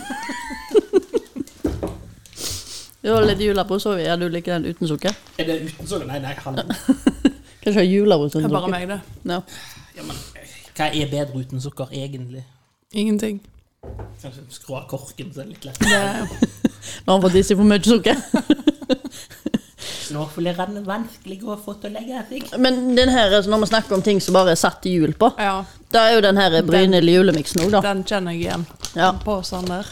Det var litt julebrus òg. Ja, du liker den uten sukker?
Er det uten sukker? Nei, nei, halv.
Kanskje julebrus
Det
uten
er bare
sukker?
meg, det.
Ja.
Ja, men, eh, hva er bedre uten sukker, egentlig?
Ingenting.
Kanskje skru av korken, så er det litt lett.
Det,
Nå har han fått i seg for mye sukker.
Nå blir den vanskelig å få til å legge seg.
Men den her, altså, når vi snakker om ting som bare er satt i hjul på,
ja,
da er jo den her brynilde julemiksen òg, da.
den kjenner jeg igjen.
Ja.
Den Posen der.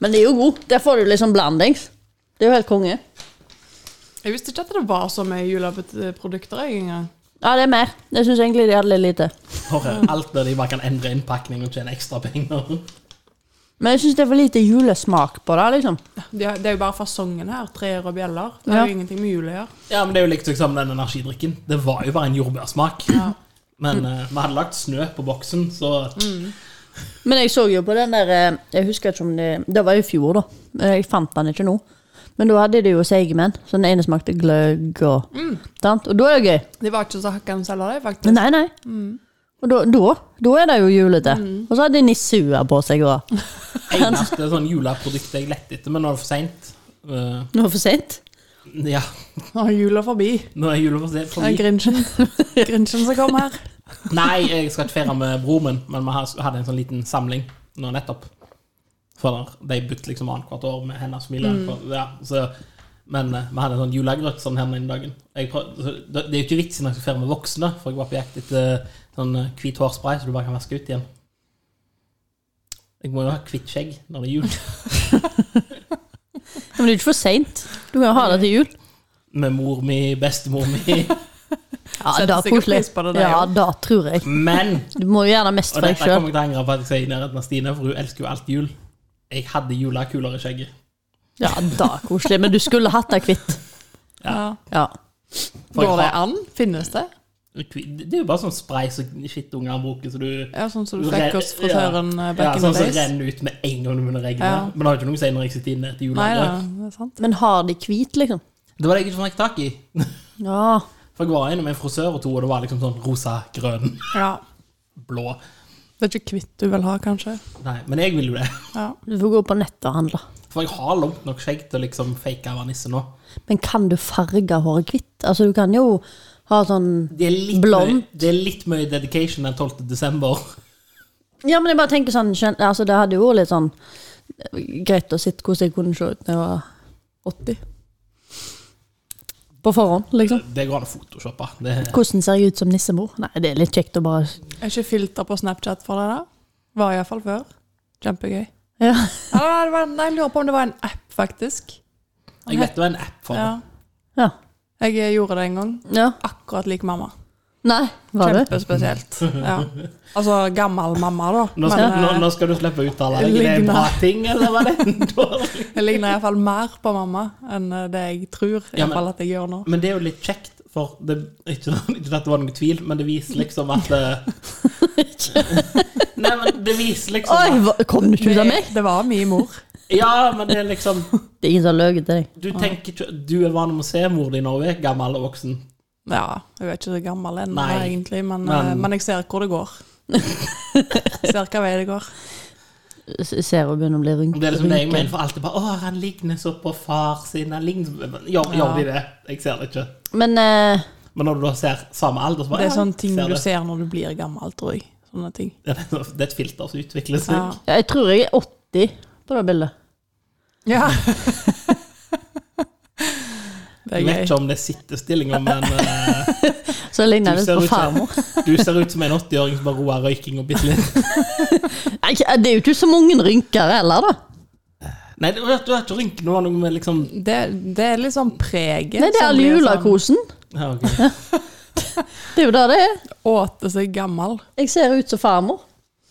Men det er jo god. Der får du liksom blandings. Det er jo helt konge.
Jeg visste ikke at det var så mye juleprodukter, jeg, engang.
Ja, det er mer. Jeg syns egentlig de hadde litt lite.
For alt der de bare kan endre innpakning og tjene ekstra penger.
Men jeg syns det er for lite julesmak på det, liksom.
Det er det er jo bare fasongen her. Trær og bjeller. Det
Ja.
er jo ingenting med jul å gjøre.
Ja, men det er jo likt som den energidrikken. Det var jo bare en jordbærsmak. Men eh, vi hadde lagt snø på boksen, så
Men jeg så jo på den der eh, Jeg husker ikke om det Det var i fjor, da. Eh, Jeg fant den ikke nå. Men da hadde de jo seigmenn, så den ene smakte gløgg og sant? Og da er det gøy.
De var ikke så hakkende selger, de, faktisk.
Men nei, nei. Og da, da, da er det jo julete. Og så hadde de nissehuer på seg og
eneste sånn juleprodukt jeg lette etter, men nå er det for seint.
Nå er det for sent.
ja,
Nå er jula forbi.
nå er jula for
Det
sent
er
forbi.
Grinchen. Grinchen som kom her.
Nei, jeg skal ikke feire med bror min, men vi har- hadde en sånn liten samling nå nettopp. For de bytte liksom annethvert år med hennes familie. for- Ja, så, men eh, vi hadde en sånn julegrøt sånn her den ene dagen. Jeg prøv, så, det det er jo ikke vitsen når jeg skal feire med voksne, for jeg var på jakt etter sånn eh, hvit hårspray så du bare kan vaske ut igjen. Jeg må jo ha hvitt skjegg når det er jul.
Ja, Men det er jo ikke for seint. Du kan jo ha det til jul.
Med mor mi, bestemor mi.
Ja,
Setter
da er
sikkert
koselig.
pris på det, det
Ja,
også.
da tror jeg.
Men
Du må jo gjerne mest
Og
for
dette
deg
kommer
sjøl.
jeg til å angre på at jeg sier i nærheten av Stine, for hun elsker jo alt jul. Jeg hadde julekuler i skjegget.
Ja, da er koselig. Men du skulle hatt det hvitt.
Ja.
Ja.
For jeg
Går det
har-
an? Finnes det?
Det er jo bare sånn spray som skittunger bruker, så du
Ja, sånn som du fikk
Ren-
hos frisøren eh,
ja,
back in
sånn
the
som
days?
renner ut med en gang du begynner å regne.
Ja.
Men det har ikke noe å si når jeg sitter inne etter
Nei da,
julegrøt.
det er sant.
Men har de hvit, liksom?
Det var det jeg ikke fikk tak i.
Ja.
For jeg var inne med en frisør og to, og det var liksom sånn rosa, grønn,
Ja.
blå.
Det er ikke hvitt du vil ha, kanskje?
Nei, men jeg vil jo det.
Ja.
Du får gå på nettet og handle.
For jeg har langt nok skjegg til å liksom fake å være nisse nå.
Men kan du farge håret hvitt? Altså, du kan jo ha sånn
Det er litt, mye,
Blond.
det er litt mye dedication den 12. desember.
Ja, men jeg bare tenker sånn skjøn- altså, Det hadde jo vært litt sånn eh, greit å sitte hvordan jeg kunne se ut når jeg var 80. på forhånd, liksom.
Det går an å photoshoppe. Det,
Hvordan ser jeg ut som nissemor? Nei, det er litt kjekt å bare
Er ikke filter på Snapchat for det, da? Var iallfall før. Kjempegøy.
Ja.
Eller, nei, det var, nei, jeg lurer på om det var en app, faktisk.
jeg vet det var en app for
Ja.
Ja.
Jeg eh, gjorde det en gang.
ja.
Akkurat lik mamma.
Nei, var det?
Kjempespesielt. Ja. Altså gammel mamma, da.
det. Nå skal,
Men,
nå,
eh,
nå skal du slippe å uttale deg. Er det en bra ting, eller var det en dårlig?
Jeg ligner iallfall mer på mamma enn eh, det jeg tror i
Ja, men-
hvert fall at jeg gjør nå.
Men det er jo litt kjekt, for det, ikke, ikke at det var noen tvil, men det viser liksom at eh, Nei, men det viser
Oi,
liksom at,
hva- kom du ikke ut av meg?
Det var min mor.
Ja, men det er liksom
Det er ingen som har løyet til deg.
Du tenker ikke Du er vant med å se mor di når hun er gammel og voksen.
Ja, jeg er ikke så gammel ennå,
Nei.
egentlig, men,
Men-
eh, men jeg ser hvor det går. ser hva vei det går.
S- Ser hun begynner å bli rynket.
Det er liksom det jeg mener, for alltid bare 'Å, han ligner så på far sin', han ligner Men Gjør, gjør de det? Jeg ser det ikke.
Men eh,
Men når du da ser samme alder, så bare
Det er
ja,
sånne ting
ser
du
det.
ser når du blir gammel, tror jeg. Sånne ting.
Ja, Det er- det er et filter som utvikler seg.
Ja.
ja, jeg tror jeg er 80 på det bildet.
ja. det
Jeg vet
er gøy.
ikke om det er sittestillinger, men eh,
Så jeg ligner
Du
litt
ser
på
ut som-
farmor.
du ser ut som en 80-åring som bare roer røyking og bitte litt.
Nei, ikke- eh, Det er jo ikke så mange rynker heller, da.
Nei, du har du har ikke rynker nå, noe med liksom
Det, det er litt sånn preget
Nei, det er
som
all
blir sånn-
julekosen.
ja, ok.
Det er jo det det er.
sånn, Åte seg gammel.
Jeg ser ut som farmor.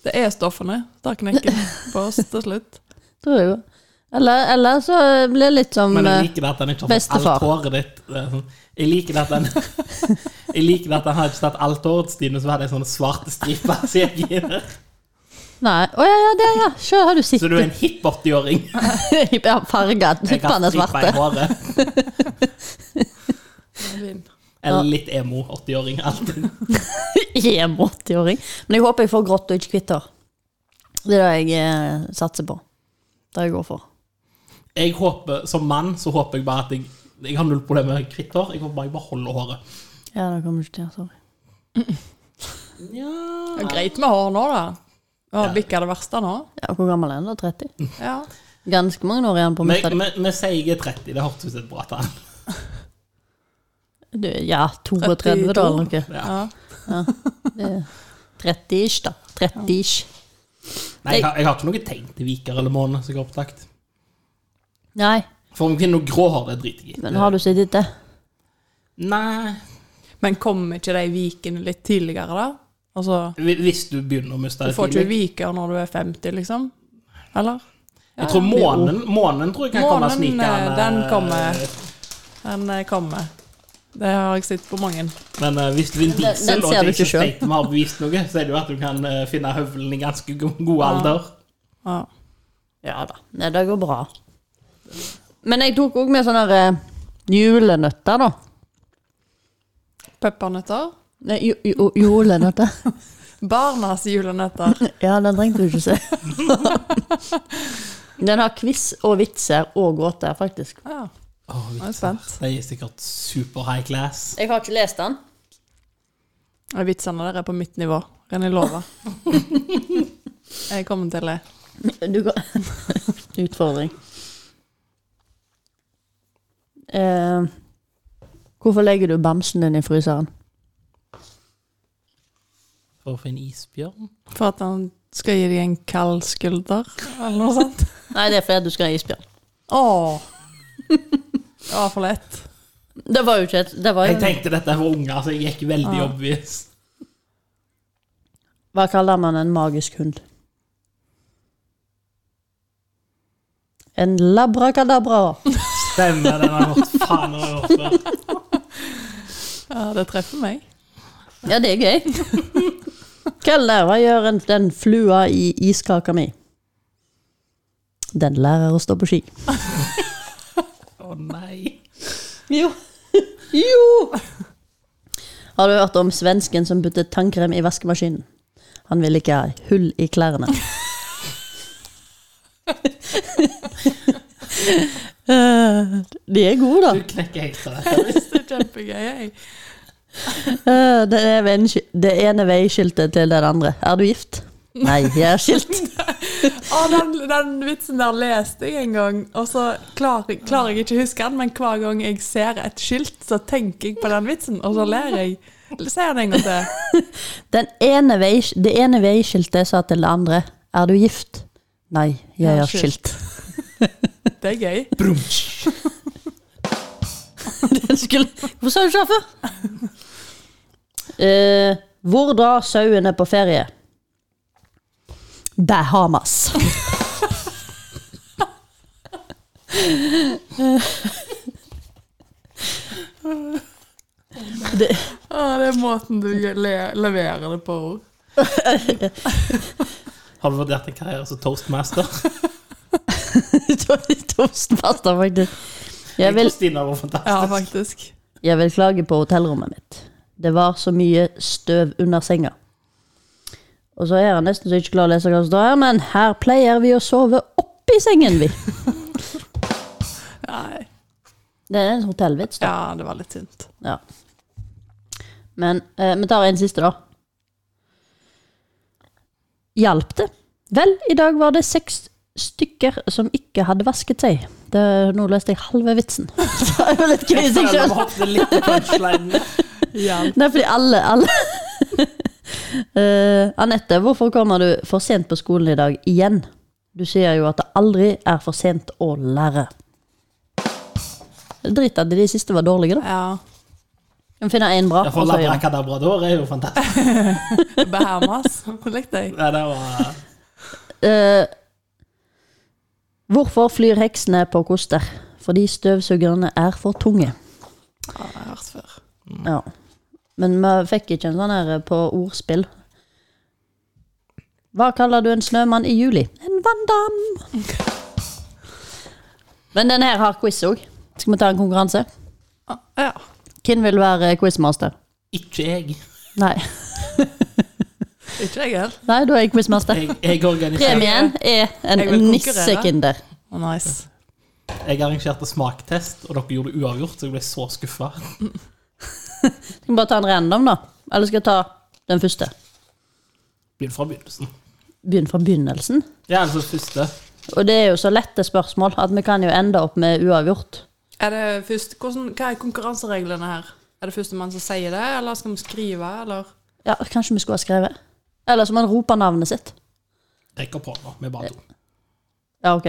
Det er stoffene. Da knekker det på oss til slutt.
Tror jeg jo. Eller, eller så blir det litt som
Men jeg
eh,
liker det at han ikke har fått
Bestefar.
alt håret ditt. Det er sånn- Jeg liker det at han Jeg liker det at han hadde ikke tatt alt håret sitt, men så hadde jeg sånne svarte striper. Så, jeg gir det.
Nei. Å ja, ja, der, ja. Se, har du sett
så du er en hipp 80-åring.
Ja, farga.
Jeg har
Tippene er
striper i
svarte.
håret.
Vin.
Eller litt emo 80-åring. Alltid.
Jeg er en 80-åring. Men jeg håper jeg får grått og ikke hvitt hår. Det er det jeg eh, satser på. Det jeg går for.
Jeg håper, Som mann så håper jeg bare at jeg jeg har null problemer med hvitt hår. Jeg håper bare jeg bare holder håret.
Ja, det kommer du ikke til. Sorry.
Ja, greit med hår nå, da. Å,
Ja.
Bikka det verste nå.
Ja, hvor gammel er han da? 30?
Ja.
Ganske mange år igjen på
Vi
mitt
vi- vi sier jeg er 30. Det hørtes ut som et bra tall.
Du, Ja, 32 da, eller noe.
Ja.
Ja.
30-ish, da. 30-ish.
Nei, jeg, har- jeg har ikke noe tegn til viker eller måne som jeg har opptatt.
Nei,
For om kvinner har grå hår, det driter jeg i.
men har du sett etter?
Nei
Men kom ikke de vikene litt tidligere, da? Altså,
Hvis hvis du begynner å miste
du
det
får ikke
tidlig.
viker når du er 50, liksom? Eller?
Jeg tror månen, månen tror jeg kan komme
Månen,
snikende.
den kommer. Den eh, kommer. Det har jeg sett på mange.
Men eh, hvis Vin
den
Diesel og
ser du ikke
Jason
selv.
Statham har bevist noe, så er det jo at du kan eh, finne høvelen i ganske go- god alder.
Ja.
Ja da. Nei, det går bra. Men jeg tok òg med sånne eh, julenøtter, da.
Peppernøtter.
Nei, jo, jo, julenøtter.
Barnas julenøtter.
ja, den trengte du ikke se. den har quiz og vitser og gåter, faktisk.
Ja,
Åh,
nå er jeg spent.
de er sikkert super high class.
Jeg har ikke lest den.
Og Vitsene der er på mitt nivå, kan jeg love. Jeg kommer til å le.
Du kan Utfordring. Eh, hvorfor legger du bamsen din i fryseren?
For å finne isbjørn?
For at han skal gi deg en kald skulder, eller noe sånt.
Nei, det er fordi du skal ha isbjørn.
Åh. Det var for lett.
Det var jo ikke et det var
Jeg
jo,
tenkte dette var unger, så jeg gikk veldig
Ja.
obvious.
Hva kaller man en magisk hund? En labrakadabra.
Stemmer, den har jeg hørt faen har jeg hørt før.
Ja, det treffer meg.
Ja, det er gøy. Kall der, hva gjør en, den flua i iskaka mi? Den lærer å stå på ski.
Å nei.
Jo. jo! Har du hørt om svensken som puttet tannkrem i vaskemaskinen? Han ville ikke ha hull i klærne. Eh, De er gode, da.
Du knekker helt av dette.
Det er kjempegøy. jeg.
Eh, Det, er vei- det ene veiskiltet til den andre. Er du gift? Nei, jeg er skilt.
Å, den, den vitsen der leste jeg en gang, og så klarer, klarer jeg ikke å huske den, men hver gang jeg ser et skilt, så tenker jeg på den vitsen, og så ler jeg. Si den en gang til.
Den ene vei, det ene veiskiltet sa til det andre Er du gift? Nei, jeg
Ja,
er
skilt.
skilt.
Det er gøy.
Den skulle, hvorfor sa du ikke det før? Eh, hvor drar sauene på ferie? Bahamas. det,
Å, det er måten du le leverer det på ord.
Har du vurdert en karriere som toastmaster?
Toastmaster, faktisk. Jeg vil,
Kristina var fantastisk.
Ja, faktisk.
Jeg vil klage på hotellrommet mitt. Det var så mye støv under senga. Og så er jeg nesten så ikke klar å lese hva som står her, men her pleier vi å sove oppi sengen, vi.
Nei.
Det er en hotellvits, da.
Ja, det var litt sint.
Ja. Men eh, vi tar en siste, da. Hjalp det? Vel, i dag var det seks stykker som ikke hadde vasket seg. Det, nå leste jeg halve vitsen. Det er jo litt gøy i
Jeg
seg
føler
selv.
vi hoppet litt i punchline.
Ja.
Det er fordi alle, alle. Eh, Anette, hvorfor kommer du for sent på skolen i dag igjen? Du sier jo at det aldri er for sent å lære. Drit at de siste var dårlige, da.
ja.
Vi må finne én bra.
Ja, for
og så gjør vi.
Labrakadabra da er jo fantastisk.
Bahamas. Likte jeg.
Ja, det var...
Eh, hvorfor flyr heksene på koster? Fordi støvsugerne er for tunge.
Ja, jeg har hørt før.
Ja. Men vi fikk ikke en sånn her på ordspill. Hva kaller du en snømann i juli? En vanndam! Men denne her har quiz òg. Skal vi ta en konkurranse?
Ah, Ja.
Hvem vil være quizmaster?
Ikke jeg.
Nei,
Ikke jeg heller.
Nei da er jeg quizmaster.
Jeg, jeg, organiserte,
Premien er en
Jeg vil konkurrere.
nissekinder.
Å, Nice.
jeg arrangerte smaktest, og dere gjorde det uavgjort, så jeg ble så skuffa.
Skal vi bare ta en random, da? Eller skal jeg ta den første?
Begynn fra begynnelsen.
Begynn fra begynnelsen.
Ja, altså første.
Og det er jo så lette spørsmål at vi kan jo ende opp med uavgjort.
Er det først, hvordan, hva er konkurransereglene her? Er det førstemann som sier det, eller skal vi skrive, eller?
Ja, kanskje vi skulle ha skrevet. Eller så må man rope navnet sitt.
Rekker på nå, vi er bare to.
Ja, ok.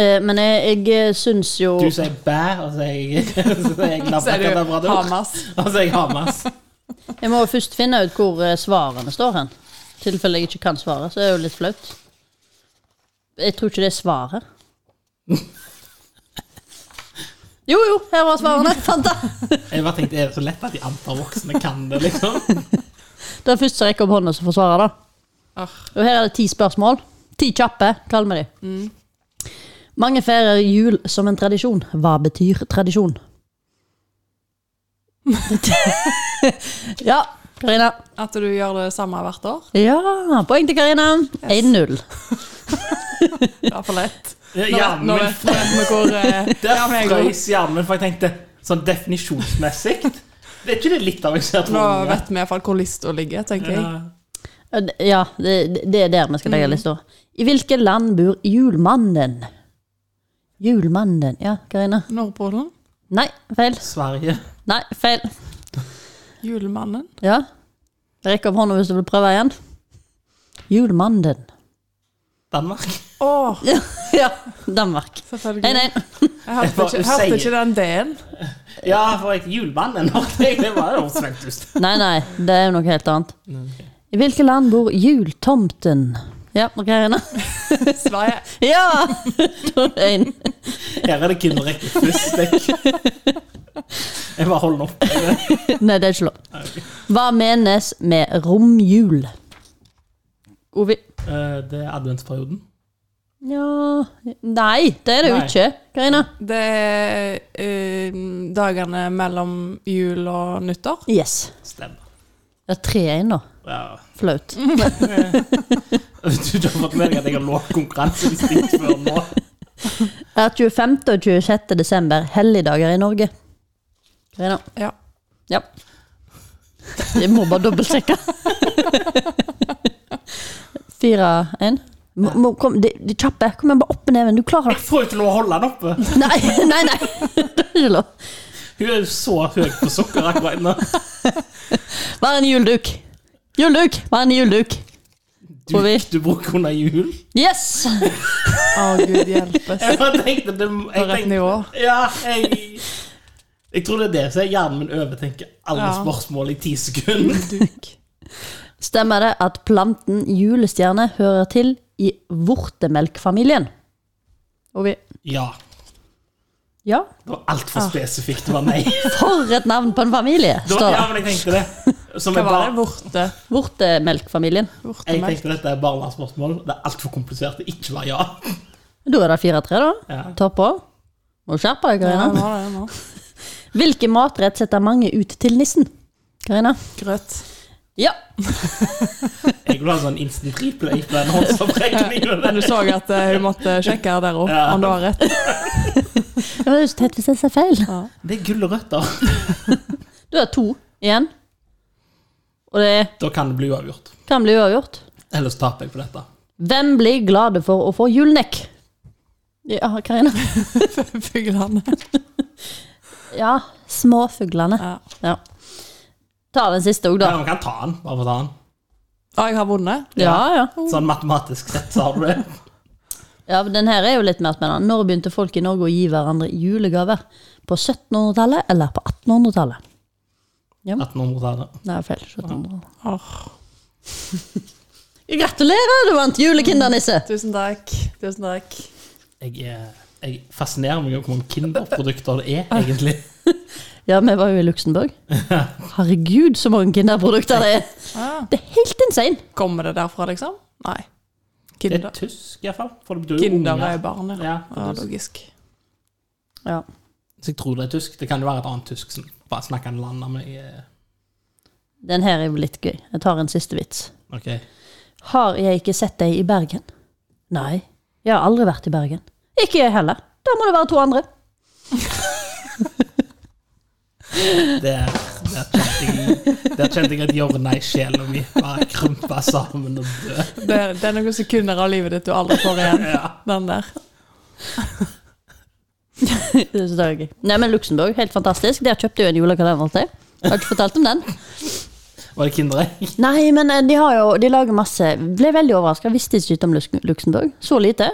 Eh, Men jeg, jeg syns jo
Du sier bæ, og så sier jeg, så sier jeg
Sier du
labrakadabra da,
Hamas?
og så sier jeg Hamas.
Jeg må jo først finne ut hvor eh, svarene står hen. I tilfelle jeg ikke kan svaret, så er det jo litt flaut. Jeg tror ikke det er svaret. Jo, jo, her var svarene. Fant det.
Jeg bare tenkte, er det så lett at de antar voksne kan det, liksom?
Det er først som rekker opp hånda som får svaret, da.
Ah.
Og her er det ti spørsmål. Ti kjappe, kall meg de. Mange feirer jul som en tradisjon. Hva betyr tradisjon? ja, Karina.
At du gjør det samme hvert år?
Ja, poeng til Karina. 1-0.
Det er for lett.
Ja,
Nå vet-
hjernen
nå
min
vet- nå vet vi hvor eh,
Der
ja, men jeg
frøys hjernen min, for jeg tenkte, sånn definisjonsmessig, det er ikke det litt avansert
Nå
for unge?
vet vi i hvert fall hvor lista ligger, tenker jeg.
Ja.
Ja, det- Ja, det, det er der vi skal legge lista. I hvilket land bor julmannen? Julmannen, ja, Karina.
Nordpolen?
Nei, feil.
Sverige.
Nei, feil.
Julemannen?
Ja. Rekk opp hånda hvis du vil prøve igjen. Julmannen.
Danmark.
Å,
ja, Danmark. Nei,
selvfølgelig.
nei.
Jeg hørte
bare
ikke, hørte
sier-
ikke den D-en.
Ja, for jeg julemannen nok. Det var jo svensk ut.
Nei, nei, det er jo noe helt annet. I hvilket land bor jultomten? Ja, Karina.
Sverige.
Ja! Da er det en.
Her er det kun å rekke først. Jeg, jeg bare holder den opp.
Nei, det er ikke lov. Hva menes med romjul? Ovi.
Eh, Det er adventsperioden.
Ja Nei, det er det jo
Nei.
ikke, Karina.
Det er eh, dagene mellom jul og nyttår.
Yes.
Stemmer.
Det er tre igjen nå.
Ja.
Flaut.
Hvis du ikke har fått med deg at jeg har låg konkurranseinstinkt før nå
Er 25. og 26. desember helligdager i Norge? Karina.
Ja.
Ja. Jeg må bare dobbeltsjekke. Fire, én. Må- må- Kom, de, de kjappe. Kom igjen, bare opp med neven. Du klarer
Jeg
det.
får jo ikke lov å holde den oppe!
Nei, nei, nei. Det er ikke lov.
Hun er jo så høy på sukker akkurat nå.
Vær en juleduk. Juleduk! Vær en juleduk.
Du,
Får vi?
du bruker under jul.
Yes!
Å, gud hjelpes.
Jeg bare tenkte det
På
jeg
rett
tenkte,
nivå.
Ja, jeg Jeg tror det er det som er hjernen min overtenker alle
Ja.
spørsmål i ti sekunder.
Duk.
Stemmer det at planten julestjerne hører til i vortemelkfamilien? Og vi
Ja.
Ja,
Det var altfor
Ah.
spesifikt. Det var nei. Det
for et navn på en familie,
var,
står
ja,
det.
men jeg tenkte det. Som
Hva
jeg
var det?
bare
Vorte?
Vortemelkfamilien.
jeg
Vortemelk?
tenkte dette er barnespørsmål. Det er altfor komplisert. Det ikke var ja.
Da er det 4-3, da.
ja.
Ta på. Må skjerpe deg,
Ja,
Karina.
nå er det nå.
Hvilken matrett setter mange ut til nissen? Karina?
Grøt.
Ja.
Jeg vil ha sånn instant replay på den håndsopprekkningen.
Men du så at eh, hun måtte sjekke her der òg,
Ja.
om det var rett.
Det var jo så teit hvis jeg sa feil.
Det er gulrøtter.
Du har to igjen. Og det
Da kan det bli uavgjort.
kan bli uavgjort.
Ellers taper jeg på dette.
Hvem blir glade for å få julenekk? Ja, Karina.
Fuglene.
Ja, småfuglene.
Ja.
Ja. Ta den siste òg, da.
Men man kan ta den. Bare for å ta den.
Og jeg har vunnet.
Ja, ja.
Sånn matematisk sett, så har du det.
ja men den her er jo litt mer spennende. Når begynte folk i Norge å gi hverandre julegaver? På 1700-tallet eller på 1800-tallet?
1800-tallet.
Nei, feil. 1700.
Åh,
Gratulerer, du vant julekindernisse!
tusen takk. Tusen takk.
Jeg, er- jeg fascinerer meg over hvor mange Kinder-produkter det er, egentlig.
Ja, vi var jo i Luxembourg. Herregud, så mange Kinderprodukter det er!
Ah.
Det er helt insane!
Kommer det derfra, liksom? Nei.
Det er
Kinder,
tysk, iallfall. For det betyr jo
Kinder Ah,
unger.
er barnet.
Ja, for
Ja,
tysk.
logisk.
Ja.
Så jeg tror det er tysk. Det kan jo være et annet tysk som bare snakker en land men jeg, eh,
Den her er jo litt gøy. Jeg tar en siste vits.
Ok.
Har jeg ikke sett deg i Bergen? Nei, jeg har aldri vært i Bergen. Ikke jeg heller. Da må det være to andre.
Der, der, kjente jeg, der kjente jeg at hjørnet i sjela mi bare krympa sammen og død.
Det, det er noen sekunder av livet ditt du aldri får igjen.
Ja.
Den der.
Det synes jeg er gøy. Nei, men Luxembourg, helt fantastisk. Der kjøpte jeg jo en julekalender til. Jeg har ikke fortalt om den.
Var det Kinderegg?
Nei, men eh, de har jo De lager masse Ble veldig overraska. Visste ikke om Lux- Luxembourg. Så lite.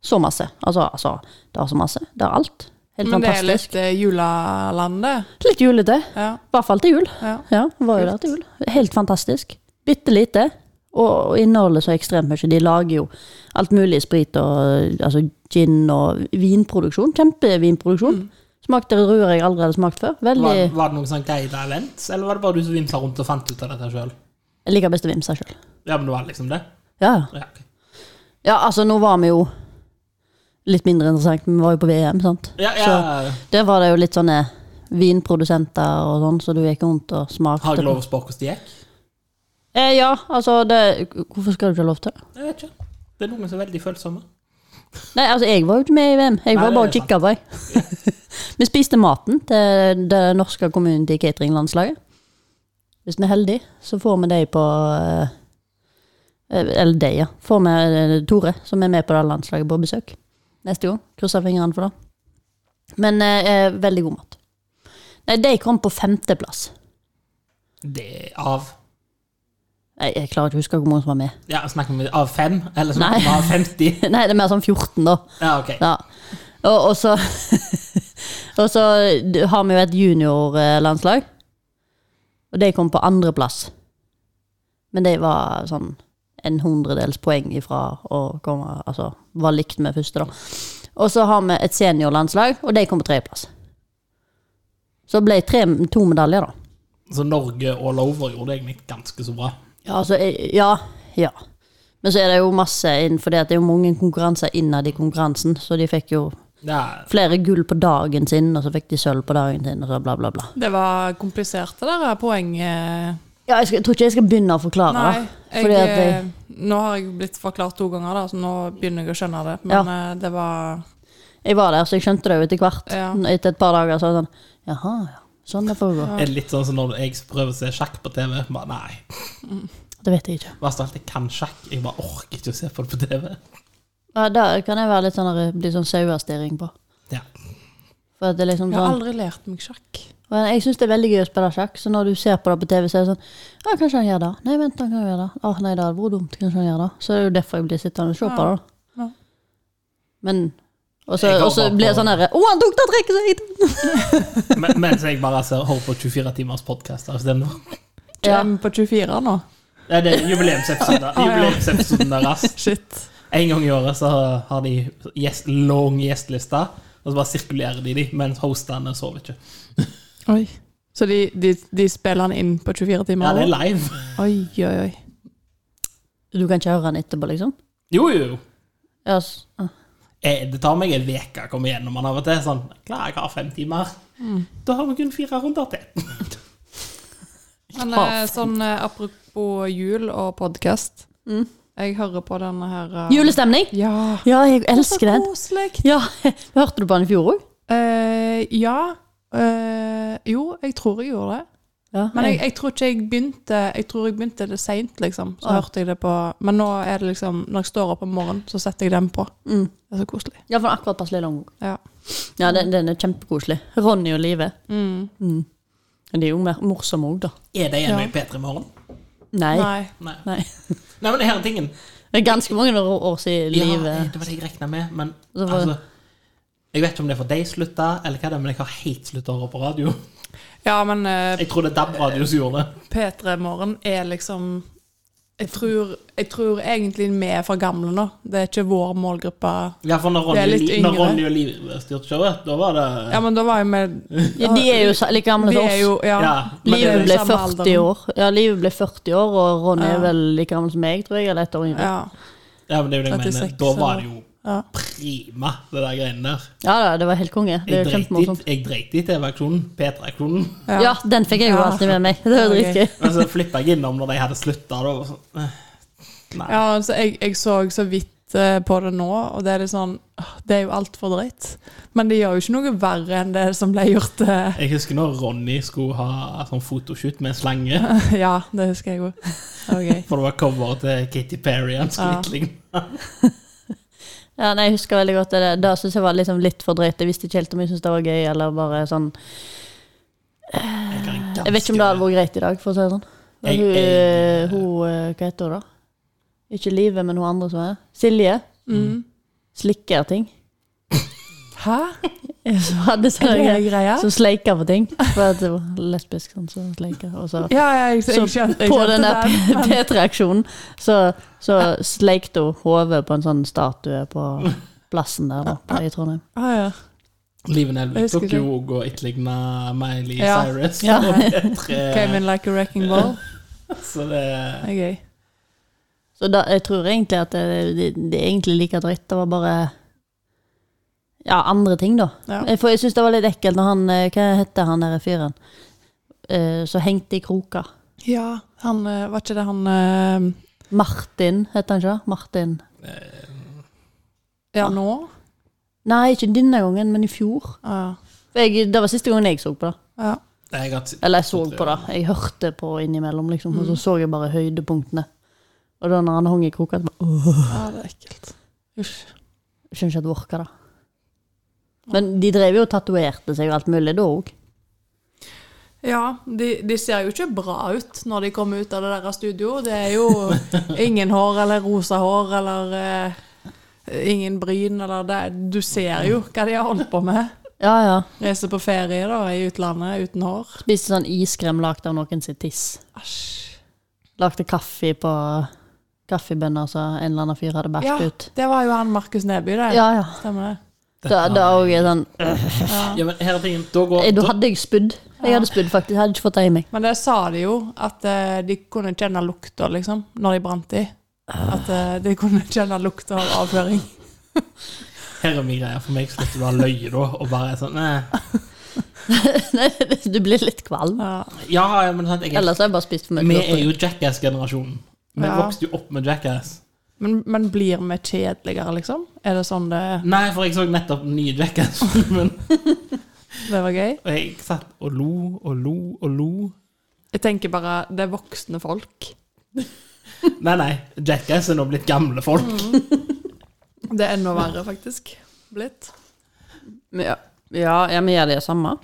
Så masse. Altså, altså det har så masse. Det har alt. Helt
Men det er
fantastisk.
litt eh, julelandet.
Litt, julete.
Ja,
I hvert fall til jul.
ja.
Ja, var jo der til jul. Helt fantastisk. Bitte lite. Og og inneholder så ekstremt mye. De lager jo alt mulig sprit og altså gin og vinproduksjon. Kjempevinproduksjon. Smakte ruer jeg aldri hadde smakt før. Veldig
Var, var det noen sånn guida event, eller var det bare du som vimsa rundt og fant ut av dette sjøl?
Jeg liker best å vimse sjøl.
Ja, men det var liksom det?
Ja, ja.
Ja, ok.
Ja, altså nå var vi jo litt mindre interessant, men vi var jo på VM, sant?
ja, ja.
Der var det jo litt sånne vinprodusenter og sånn, så du gikk rundt og smakte.
Har jeg
på-
lov å spørre hvordan det gikk?
Eh, ja, altså det, Hvorfor skal du ikke ha lov til det?
Jeg vet ikke. Det er noen som er veldig følsomme.
Nei, altså jeg var jo ikke med i VM. Jeg
Nei,
var
det
bare
er
og kikka på, jeg. vi spiste maten til det norske community catering-landslaget. Hvis vi er heldige, så får vi de på eh, Eller de, ja. Får vi eh, Tore, som er med på det landslaget, på besøk neste gang. Krysser fingrene for det. Men eh, eh, veldig god mat. Nei, de kom på femteplass.
Det er av
Jeg, jeg klarer ikke å huske hvor mange som var med.
Ja, snakker vi av fem? Eller
Nei.
snakker vi av 50?
Nei, det er mer sånn 14, da.
Ja, ok.
Ja. Og, og så Og så har vi jo et juniorlandslag. Og de kom på andreplass. Men de var sånn en hundredels poeng ifra å komme Altså var likt med første, da. Og så har vi et seniorlandslag, og de kom på tredjeplass. Så ble tre, to medaljer, da.
Så Norge all over gjorde det egentlig ganske så bra.
Ja, altså, eh, ja, ja. Men så er det jo masse innenfor det at det er jo mange konkurranser innad i konkurransen, så de fikk jo
Ja,
flere gull på dagen sin, og så fikk de sølv på dagen sin, og så bla, bla, bla.
Det var komplisert, det der eh, poenget.
Ja, jeg, skal, jeg tror ikke jeg skal begynne å forklare.
Nei, jeg,
fordi at jeg-
eh, nå har jeg blitt forklart to ganger, da, så nå begynner jeg å skjønne det. Men
Ja.
eh, det var
Jeg var der, så jeg skjønte det jo etter hvert.
Ja.
Etter et par dager så var det sånn Jaha, ja. Sånn det foregår.
Er det litt sånn som når jeg prøver å se sjakk på TV? Bare nei.
Det vet jeg ikke.
Verst av alt, jeg kan sjakk. Jeg bare orker ikke å se på det på TV.
Ja, da kan jeg være litt sånn, der- bli sånn sauestirring på.
Ja.
For at det er liksom
Jeg har
sånn,
aldri lært meg sjakk.
men jeg syns det er veldig gøy å spille sjakk, så når du ser på det på TV, så er det sånn Ja, kanskje han gjør det. Nei, vent, han kan gjøre det. Åh, nei, det hadde vært dumt. Kanskje han gjør det. Så det er jo derfor jeg blir sittende og se på det. da.
Ja.
Men Og så
Jeg går
og så
bare
blir det
på-
sånn herre Å, han tok det trekket sitt!
Men, mens jeg bare ser, holder på 24 timers podkast. Altså, den-
Ja.
Kjem på 24 nå.
Nei, det er jubileumsepisoden jubileumsepisoden deres.
Shit.
En gang i året så har de gjest, lang gjesteliste, og så bare sirkulerer de de, mens hostene sover ikke.
Oi. Så de, de, de spiller den inn på 24
Ja,
timer?
det er live.
Oi, oi, oi.
Du kan ikke høre han etterpå, liksom?
Jo, jo, jo.
Ja, s- ja.
Eh, Det tar meg en uke å komme gjennom den av og til. Sånn, klar, jeg har fem timer. Da har vi kun fire runder til.
Men
Faen.
eh, sånn eh, apropos jul og podkast.
Mm.
Jeg hører på denne her eh,
Ah. Julestemning!
Ja.
Ja, jeg elsker
Så
den.
koselig.
Ja, Hørte du på den i fjor òg?
Eh, ja. Eh, jo, jeg tror jeg gjorde det.
Ja,
Men jeg, jeg tror ikke jeg begynte Jeg tror jeg begynte det seint, liksom. Så
Ah.
hørte jeg det på Men nå er det liksom Når jeg står opp om morgenen, så setter jeg den på.
Mm.
Det er så koselig.
Ja, for den er akkurat passelig lang.
Ja.
Ja, den, den er kjempekoselig. Ronny og Live.
Mm.
Mm. Men de er jo mer morsomme òg, da.
Er det igjen
Ja.
i P3 Morgen?
Nei.
Nei.
Nei.
Nei.
Nei, men det her er tingen.
Det er ganske mange år- år siden
Ja,
Live
eh, det var det jeg regna med, men
Så var-
altså Jeg vet ikke om det er for deg slutta, eller hva det er, men jeg har helt slutta å høre på radio.
Ja, men eh,
Jeg tror det er DAB-radio som gjorde det.
P3 Morgen er liksom jeg tror, jeg tror egentlig vi er for gamle nå. Det er ikke vår målgruppe.
Ja, for når
Det er
Ronny,
litt
når
yngre.
Ronny og Liv styrte showet, da var det
Ja, men da var jo vi
Ja, de er jo sa- like gamle
Vi
som
er
oss.
jo Ja.
Ja, men
Livet
Live
det-
ble
samme
40
alderen.
år. Ja, Live ble 40 år, og Ronny
Ja.
er vel like gammel som meg, tror jeg. Eller ett år yngre.
ja.
Ja, men det er jo det jeg mener.
36
Da var det jo
Ja.
prima, det der greiene der.
Ja da, det var helt konge. Det
Jeg
er jo
dreit i-
kjempemorsomt.
jeg dreit i TV-aksjonen, P3-aksjonen.
Ja.
Ja, den fikk jeg jo
Ja.
alltid med meg. Det var
Ja,
dritgøy.
Men så flippa jeg innom når de hadde slutta. da, og sånn, eh, Nei.
Ja, altså, jeg, jeg så så vidt eh, på det nå, og det er litt sånn åh, Det er jo altfor drøyt. Men det gjør jo ikke noe verre enn det som ble gjort. eh,
Jeg husker når Ronny skulle ha sånn fotoshoot med en slange.
ja, det husker jeg òg. Okay.
For det var coveret til Katy Perry. Han skulle
Ja.
ikke ligne.
Ja, nei, jeg husker veldig godt det. Da syntes jeg var liksom litt for drøyt. Jeg visste ikke helt om jeg syntes det var gøy, eller bare sånn
Jeg kan ganske-
Jeg vet ikke om det hadde vært greit i dag, for å si det sånn. Men
Jeg-
hun,
jeg-
hun eh, Hva heter hun, da? Ikke Live, men hun andre som er Silje.
Mm.
Slikker ting.
Hæ?
Som hadde
Er
sånne
det
greier.
greia?
Som sleiker på ting. For at det var lesbisk, sånn, så sleiker. Og så
Ja, ja, jeg, jeg,
Så
jeg skjønte, jeg
på
skjønte
den der
den.
P- P3-aksjonen så, så sleikte hun hodet på en sånn statue på plassen der da, på- i Trondheim.
Ah, ja.
Live
Jeg
Nelvik
husker
tok
ikke.
jo og å etterligne Miley
Ja.
Cyrus.
Ja.
på P3,
Came in like a
Eh.
wrecking ball.
Så det
Det er gøy.
Så da, jeg tror egentlig at det, det, det er egentlig like dritt. Det var bare Ja, andre ting, da.
Ja.
Jeg- For jeg syns det var litt ekkelt når han eh, Hva heter han der fyren? Eh, Så hengte i kroka.
Ja, han eh, Var ikke det han eh,
Martin, heter han ikke? det? Martin.
Ja, nå?
Nei, ikke denne gangen, men i fjor.
Ja.
For Jeg, det var siste gangen jeg så på det.
ja.
Nei, jeg har t-
Eller jeg så på det. Jeg hørte på innimellom, liksom. Og så så jeg bare høydepunktene. Og da når han hang i kroka, så bare,
ja, det er ekkelt. Usch.
jeg skjønner ikke at det orker, da. Men de drev jo og tatoverte seg og alt mulig da òg.
Ja, de, de ser jo ikke bra ut når de kommer ut av det der studio. Det er jo ingen hår eller rosa hår eller eh, ingen bryn eller det. Du ser jo hva de har holdt på med.
Ja, ja.
Reise på ferie da, i utlandet uten hår.
Spiste sånn iskrem lagd av noen sitt tiss.
Asj.
Lagde kaffe på kaffebønner som en eller annen fyr hadde bært
Ja,
ut.
det var jo han Markus Neby, det.
Ja, ja.
Stemmer det.
Da da òg er sånn øh,
Ja, men her er tingen. Da går
eh, Da
da-
hadde jeg spydd. Jeg hadde spydd, faktisk. Jeg hadde ikke fått det i meg.
Men det sa de jo, at eh, de kunne kjenne lukta, liksom, når de brant i. At eh, de kunne kjenne lukta av avføring.
Her er min greie. For meg slutter det å løye, da. Og bare sånn nei.
Nei, du blir litt kvalm.
Ja.
Ja, ja, men sant, jeg er,
Ellers har jeg bare spist for mye.
vi
godteri.
er jo Jackass-generasjonen. Vi
Ja.
vokste jo opp med Jackass.
Men, men blir vi kjedeligere, liksom? Er det sånn det,
Nei, for jeg så nettopp den nye Jackass-filmen.
det var gøy?
Og jeg satt og lo og lo og lo.
Jeg tenker bare det er voksne folk.
Nei, nei. Jackass er nå blitt gamle folk.
Mm. Det er enda verre, faktisk. Blitt.
Ja, ja, ja vi gjør det samme.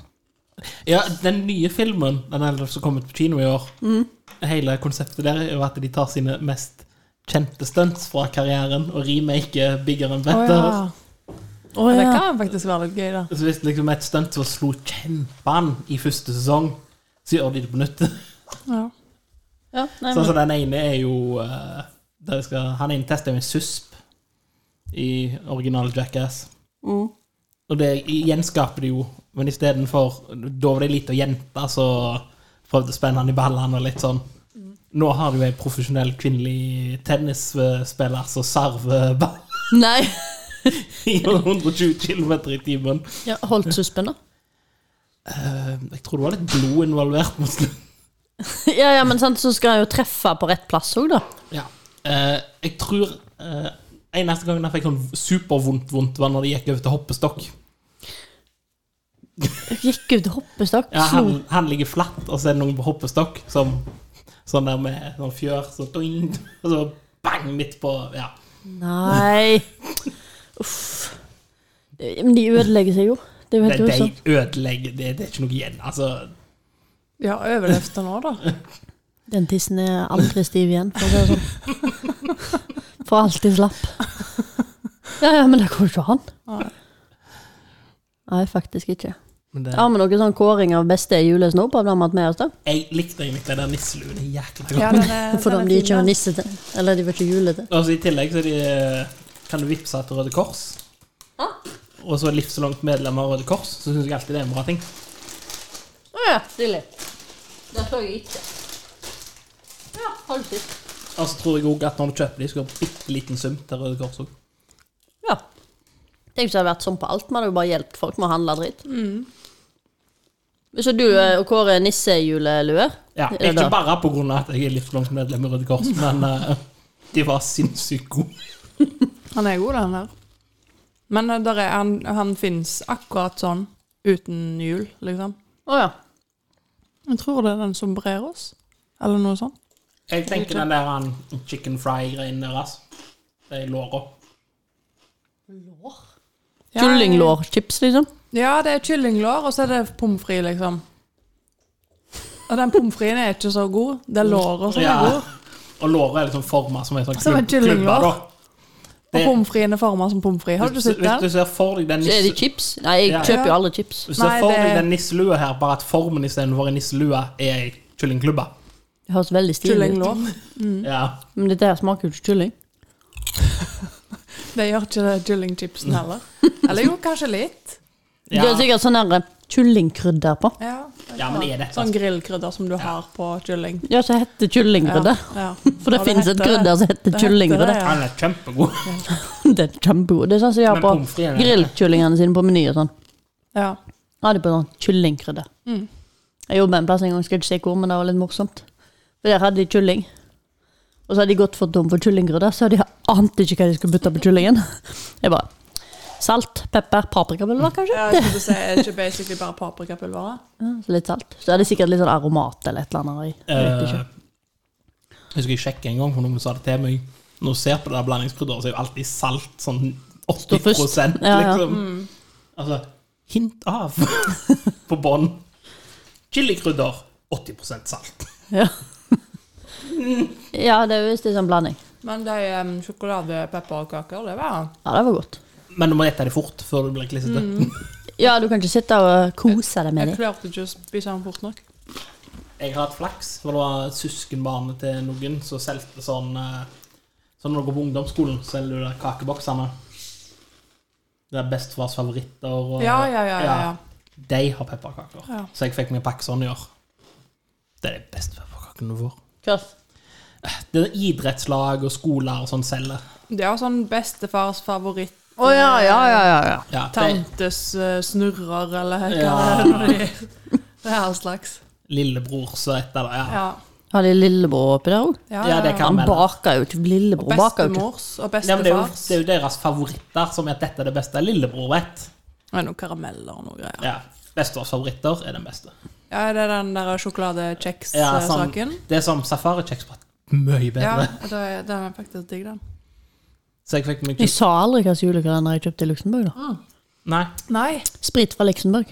Ja, den nye filmen den er som kom ut på kino i år
Mm.
Hele konseptet der er jo at de tar sine mest kjente stunts fra karrieren og remaker bigger and
Å
better.
ja.
Å
Det
ja.
kan faktisk være litt gøy, da.
Så hvis det liksom er et stunt som slo kjempen i første sesong, så gjør de det på nytt.
Ja.
ja nei,
Sånn
men,
som den ene er jo eh, der jeg skal, Han ene tester jo en susp i original Jackass.
mm.
Og det gjenskaper de jo, men istedenfor Da var det ei lita jente som prøvde å spenne han i ballene og litt sånn. Nå har du ei profesjonell kvinnelig tennisspiller som server ball
nei.
i 120 km i timen.
Ja, holdt suspen, da.
Eh, jeg tror det var litt blod involvert mot slutten.
Ja, ja, men sant, så skal jeg jo treffe på rett plass òg, da.
Ja. Eh, jeg tror eh, eneste gangen jeg fikk sånn supervondt vondt, var når de gikk over til hoppestokk.
Gikk ut hoppestokk,
Ja,
slo
han, han ligger flatt, og så er det noen på hoppestokk som sånn der med sånn fjør, så doing, og så bang midt på Ja.
Nei. Uff. Eh, Men de ødelegger seg jo. Det er jo
Det,
helt
de
grusomt.
ødelegger det, det er ikke noe igjen. Altså,
De har overlevd det nå, da.
Den tissen er aldri stiv igjen, for å si det sånn. For alltid slapp. Ja, ja, men det går jo ikke an.
Nei.
Nei, faktisk ikke.
men det,
Har vi noen sånn kåring av beste julesnop av dem vi har hatt med oss, da?
jeg likte egentlig den der nisseluen jækla godt.
Ja, den er,
For
den
om
er
de
fin,
ikke var
den.
nissete. Eller de var ikke julete.
Og så I tillegg så er de, kan du vippse til Røde Kors. Og så er livslangt medlem av Røde Kors, så syns jeg alltid det er en bra ting.
Å ja, stilig. Det så jeg ikke. Ja, hold sitt.
Og så tror jeg òg at når du kjøper de, så går en bitte liten sum til Røde Kors òg.
Ja. Tenk hvis det hadde vært sånn på alt. Man hadde jo bare hjulpet folk med å handle dritt. Så du eh, og Kåre er nissehjuleluer?
Ja,
Er det
ikke
da?
bare pga. at jeg er livslangt medlem i Røde Kors, men eh, de var sinnssykt gode.
Han er god, den der. Men eh, der er, han, han fins akkurat sånn uten hjul, liksom.
Å ja.
Jeg tror det er den som brer oss, eller noe sånt.
Jeg tenker den der han, chicken fry-greien deres. De låra.
Ja,
Kyllinglårchips, liksom?
Ja, det er kyllinglår, og så er det pommes frites, liksom. Og den pommes fritesen er ikke så god. Det er låret som
Ja.
er god.
Og låra er liksom forma som en sånn
Som en
klubb- klubbe.
kyllinglår.
da.
Og
Det-
pommes fritesen er forma som pommes frites. Har du
Hvis
sett
hvis du
den?
ser for deg den
Så er
nisse,
det chips? Nei, jeg
Ja.
kjøper jo
Ja.
alle chips.
hvis du ser
Nei,
for
det-
deg den nisselua her, bare at formen istedenfor en nisselue er ei kyllingklubbe.
Det høres veldig stilig ut.
Kyllinglår.
Ja.
Men dette her smaker jo ikke kylling.
Det gjør ikke det kyllingchipsen heller. Eller jo, kanskje litt.
Det
Ja.
er sikkert sånn der eh, kyllingkrydder på.
Ja, det
ja, men er det altså?
Sånn grillkrydder som du har på kylling.
Ja, som heter kyllingkrydder.
Ja.
For det
Ja,
finnes et
heter det.
krydder som heter
Det heter
kyllingkrydder.
det, ja.
Han er kjempegod.
Det er kjempegod. Det er sånn som de har
Men
på
pommes frites er-
grillkyllingene sine på Meny og sånn.
Ja.
Ja, det er på sånn kyllingkrydder.
Mm.
Jeg jobbet en plass en gang, skal ikke si hvor, men det var litt morsomt. For der hadde de kylling. Og så hadde de gått for tom for kyllingkrydder, så de ante ikke hva de skulle putte på kyllingen. Jeg bare Salt, pepper, paprikapulver, kanskje?
Jeg skulle si, er det ikke basically bare paprikapulveret?
Ja, så litt salt. Så er det sikkert litt sånn aromat eller et eller annet. i. Jeg vet ikke.
Eh, Jeg husker jeg sjekket en gang, for noen sa det til meg. Når du ser på det der blandingskrydderet, så er jo alltid salt sånn
Står
80
først. Ja, ja.
liksom.
Mm.
Altså hint av på bånn. Chilikrydder 80 salt.
Ja. ja, det er visst en sånn blanding.
Men de um, sjokoladepepperkaker, det var
Ja, det var godt.
Men du må ete det fort før du blir klissete.
Mm.
Ja, du kan ikke sitte og kose deg med
Jeg
dem.
klarte ikke å spise den fort nok.
Jeg har hatt flaks, for det var et søskenbarn til noen som solgte sånn eh, Sånn når du går på ungdomsskolen, så selger du de kakeboksene. Det er bestefars favoritter og
Ja, ja, ja. ja, ja.
De har pepperkaker.
Ja.
Så jeg fikk meg en pakke sånn i år. Det er de beste pepperkakene du får. Det er idrettslag og skoler og sånn selger.
Det er jo sånn bestefars favoritt.
Å ja, ja, ja, ja, ja.
Ja, det-
Tantes eh, snurrer, eller hva
Ja.
er det de- Det er all slags.
Lillebror så etter det. Ja.
Ja.
Har de lillebror oppi der òg?
Ja, det kan
Han
være.
baker jo ikke. Lillebror baker jo ikke.
Bestemors og
Ja, men det, er jo,
bestefars.
det er jo deres favoritter som er at dette er det beste. Lillebror vet.
Det er noen karameller og noe greier.
Ja. Bestefars favoritter er den beste.
Ja, det er den der
Ja, sånn-
sjokoladekjeks-saken.
Det er som safarikjeks på et mye
Ja,
bedre.
det, den er faktisk digg, den.
Så jeg fikk meg
Jeg
kjøpt
sa aldri hvilken julekalender jeg kjøpte i Luxembourg. da.
Nei.
Nei,
Sprit fra Luxembourg.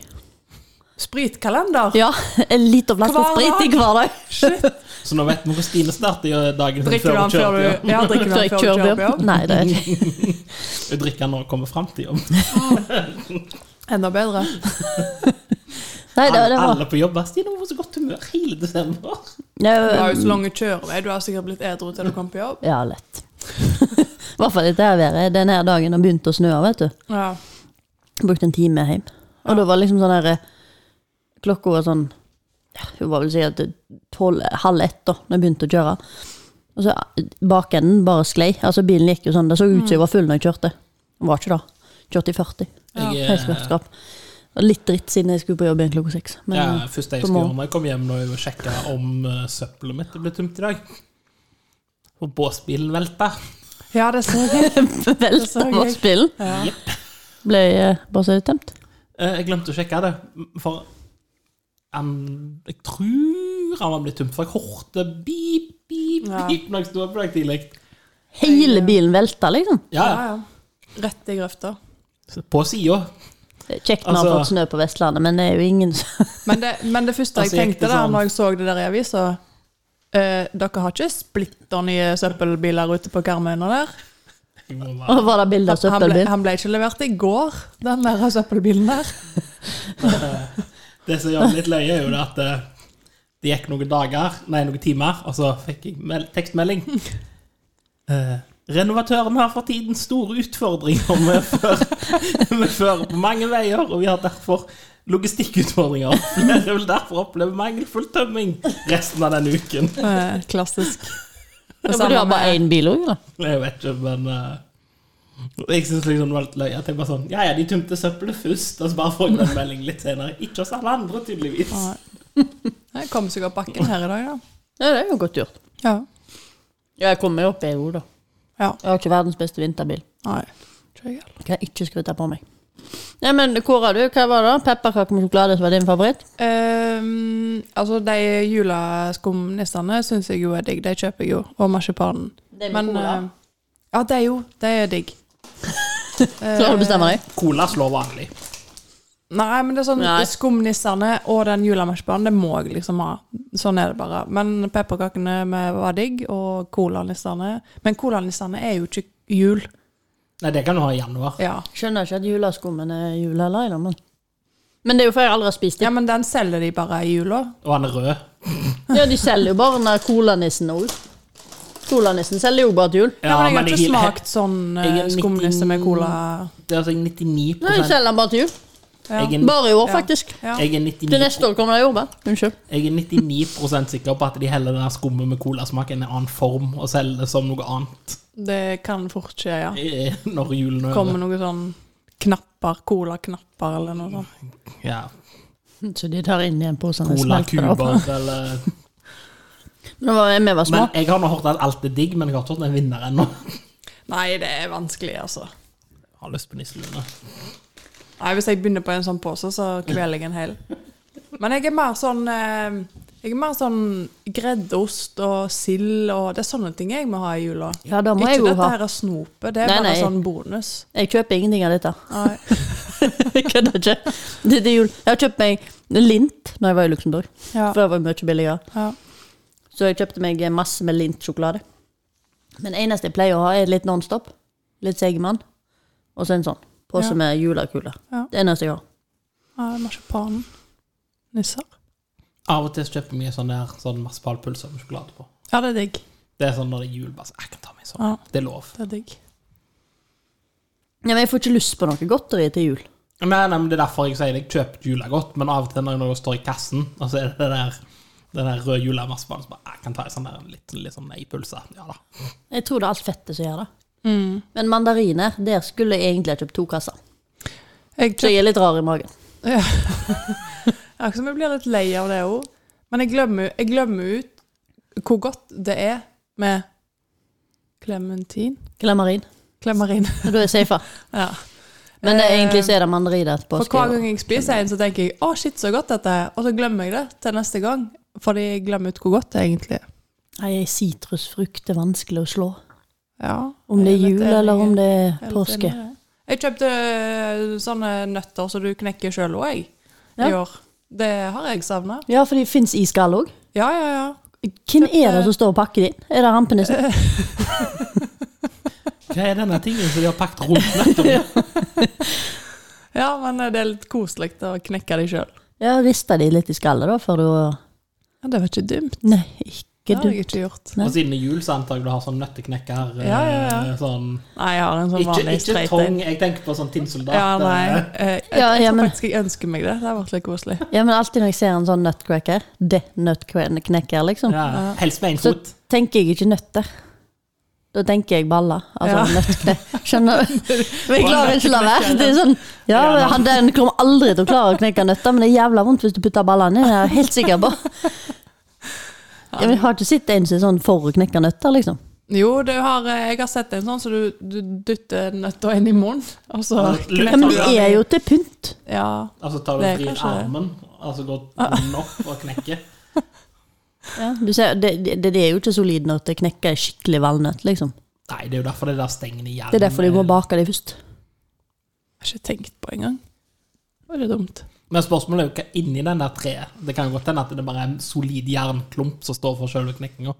spritkalender!
Ja, en liter flaske
Hver
sprit i hver dag.
Så nå vet vi hvor Stine starter i dagen
Drikker du
før
den
hun
før
kjører.
du
Ja.
Ja, drikker du
Før
den
jeg
før du
kjører
kjører på
jobb.
jobb?
Nei, det er ikke
Hun drikker når hun kommer fram til jobb.
Enda bedre.
Nei, det, det
Alle,
var
alle på jobb bare 'Stine, hun var så godt humør hele desember'.
Du har jo
Nei,
så lang kjørevei. Du har sikkert blitt edru til du kom på jobb.
Ja, lett. I hvert fall dette her været. Denne her dagen det begynte å snø, vet du.
Ja.
Jeg brukte en time hjem. Og da var det liksom sånn der eh, Klokka var sånn ja, Hun var vel sikkert eh, tolv, halv ett da Når jeg begynte å kjøre. Og så eh, bakenden bare sklei. Altså Bilen gikk jo sånn. Det så ut som jeg var full når jeg kjørte. Jeg var ikke det. Kjørte i 40.
Ja.
Jeg,
Helt
eh,
skarpskap. Og Litt dritt siden jeg skulle på jobb igjen klokka seks. Men
ja,
eh,
først jeg
på
skulle
morgen.
gjøre når jeg kom hjem, var å sjekke om eh, søppelet mitt ble tømt i dag. Og båsbilen velta.
ja, det så jeg.
vel,
så
da var
gøy.
spillen.
Ja.
eh, Ble eh, bare så tømt.
Eh, Jeg glemte å sjekke det, for han- jeg tror han var blitt tømt, for jeg hørte beep, beep,
Ja.
beep når jeg sto opp i dag tidlig.
Hele bilen velta, liksom.
Ja,
Ja, ja. Rett i grøfta.
ja. På sida.
Det er Kjekt når det har
Altså-
fått snø på Vestlandet, men det er jo ingen som
Men det, men det første jeg
Altså, gikk det
tenkte da
sånn-
når jeg så det der i avisa eh, Dere har ikke splitter nye søppelbiler ute på Karmøy nå der?
Og var det bilde av
Han ble,
søppelbil?
han ble ikke levert i går, den der søppelbilen der.
Det som gjør det litt løye, er jo det at eh, det gikk noen dager, nei, noen timer, og så fikk jeg mel tekstmelding. Eh, renovatøren har for tiden store utfordringer med før, med før på mange veier, og vi har derfor logistikkutfordringer. Flere vil derfor oppleve mangelfull tømming resten av denne uken.
Eh, klassisk.
Ja, men Du har bare én bil òg, da.
Jeg vet ikke, men eh, Jeg syns liksom det var litt løye. At jeg bare sånn Ja ja, de tømte søppelet først, og så bare får jeg en melding litt senere. Ikke hos alle andre, tydeligvis.
Nei. Jeg kom seg opp bakken her i dag, da.
Ja, det er jo godt gjort.
Ja.
Ja, jeg kommer meg opp i ro, da.
ja.
Jeg har ikke verdens beste vinterbil.
Nei. Tror jeg heller.
Kan jeg ikke skryte på meg. Ja, men Kåre, du, hva var det? Pepperkaker med sjokolade som var din favoritt?
Ehm, altså, de juleskumnissene syns jeg jo er digg. De kjøper jeg jo. Og marsipanen.
Det
Men eh, Ja, de jo. De er digg.
Klarer du å bestemme deg?
Cola slår vanlig.
Nei, men det er sånn
Nei.
skumnissene og den julemarsipanen, det må jeg liksom ha. Sånn er det bare. Men pepperkakene med var digg, og colanissene Men colanissene er jo ikke jul.
Nei, det kan du ha i januar.
Ja.
Skjønner ikke at juleskummen er jul heller, jeg, da, men Men det er jo for jeg aldri har spist
ja,
det.
men den selger de bare i jula.
Og han er rød.
Ja, de selger jo bare den der colanissen òg. Colanissen selger jo bare til jul.
Ja, men jeg har
men
ikke
jeg-
smakt sånn eh,
jeg er 19
skumnisse med cola.
Det er altså 99
Nei, de selger den bare til jul.
Ja.
Jeg er,
Bare i år,
Ja.
faktisk.
Ja.
jeg er
Til
99,
neste år kommer det jordbær. Unnskyld.
jeg er 99 sikker på at de heller den der skummet med colasmak i en annen form og selger det som noe annet
Det kan fort skje, ja.
eh, når julen er
Kommer
over.
noe sånn knapper, colaknapper eller noe sånt.
Ja,
Så de tar inn igjen posene.
Colakuber eller
Nå var vi var små.
Men jeg har nå hørt at alt er digg, men jeg har ikke hørt en vinner ennå.
Nei, det er vanskelig, altså.
Jeg Har lyst på nisselue.
Nei, Hvis jeg begynner på en sånn pose, så kveler jeg en hel. Men jeg er mer sånn eh, Jeg er mer sånn greddost og sild og Det er sånne ting jeg må ha i jula.
Ja, det må
Ikke
jeg jo
dette
ha.
her er snopet, det er
Nei,
bare
nei.
sånn bonus.
Jeg kjøper ingenting av dette.
Nei.
Jeg kødder ikke. Det er jul. Jeg har kjøpt meg lint når jeg var i Luxembourg,
Ja,
for det var mye billigere.
ja.
Så jeg kjøpte meg masse med lint-sjokolade. Men det eneste jeg pleier å ha, er litt Nonstop, litt Seigmann, og så en sånn pose
Ja.
med julekuler.
Ja.
Det eneste jeg har.
ja Marsipanen. Nisser.
Av og til så kjøper jeg mye sånn der sånn marsipanpølse med sjokolade på.
Ja, det er digg.
Det er sånn når det er jul, bare så jeg kan ta meg en sånn.
Ja.
Det er lov.
Det er digg.
Ja, men jeg får ikke lyst på noe godteri til jul.
Nei, nei, men Det er derfor jeg sier jeg kjøper julegodt, men av og til når jeg nå står i kassen, og så er det det der den der røde julemarsipanen som bare Jeg kan ta en sånn der litt, litt sånn nei-pølse. Ja da.
Jeg tror det er alt fettet som gjør det.
Mm.
Men mandariner, der skulle jeg egentlig ha kjøpt to kasser.
Jeg
Så jeg er litt rar i magen.
Ja. Akkurat som jeg blir litt lei av det òg. Men jeg glemmer, jeg glemmer ut hvor godt det er med klementin.
Glemarin.
Klemarin.
Du er safe.
Ja.
Men det,
Eh,
egentlig så er det mandariner etterpå.
For hver gang jeg spiser en, så tenker jeg 'Å, shit, så godt dette er', og så glemmer jeg det til neste gang. Fordi jeg glemmer ut hvor godt det egentlig er.
Nei, ei sitrusfrukt er vanskelig å slå.
Ja,
Om det
jeg
er
helt
jul
enig.
eller om det er
Helt
påske.
enig i det. Jeg kjøpte eh, sånne nøtter som du knekker sjøl òg, jeg.
Ja.
I år. Det har jeg savna.
Ja, for det fins iskall òg.
Ja, ja, ja.
Hvem er det som står og pakker det inn? Er det rampenissen?
Hva er denne tingen som de har pakket rundt nøttene?
Ja, men eh, det er litt koselig å knekke de sjøl.
Ja, rister de litt i skallet, da, før du
Ja, det var ikke dumt.
Nei,
Det
ikke
har
du.
jeg ikke gjort.
Nei.
Og siden det er jul, så antar jeg du har sånn nøtteknekker. eh,
Ja, ja, ja.
Sånn.
Nei, jeg har en sånn
Ikke,
vanlig
ikke
straight
tong,
in.
jeg tenker på sånn tinnsoldat.
Ja, nei.
eh,
eh, Jeg, jeg,
Ja, ja,
tror
men-
faktisk jeg ønsker meg det. Det har vært litt koselig.
Ja, men alltid når jeg ser en sånn nutcracker, det nutcracker, liksom,
Ja. Helst med én
så
fot.
tenker jeg ikke nøtter. Da tenker jeg baller. Altså
Ja.
nøttkne... Skjønner du? Men jeg klarer ikke å la være. Det er sånn, ja,
Ja, da.
han den kommer aldri til å klare å knekke nøtter, men det er jævla vondt hvis du putter ballene inn. Det er jeg helt sikker på. Ja, men jeg har ikke sett en som er sånn for å knekke nøtter, liksom.
Jo, du har, eh, jeg har sett en sånn, så du, du dytter nøtta inn i munnen, og så
Ja, litt
Ja, men de er jo til pynt.
Ja.
Altså tar du
Det er
fri
kanskje det.
armen, altså går hånden opp og knekker.
Ja, du ser, det, det, det er jo ikke solid når det knekker skikkelig valnøtt, liksom.
Nei, det er jo derfor det der stengene igjen.
Det er derfor de må bake de først.
Jeg har ikke tenkt på engang. Var det dumt?
Men spørsmålet er jo hva inni den der treet. Det kan jo godt hende at det bare er en solid jernklump som står for selve knekkinga.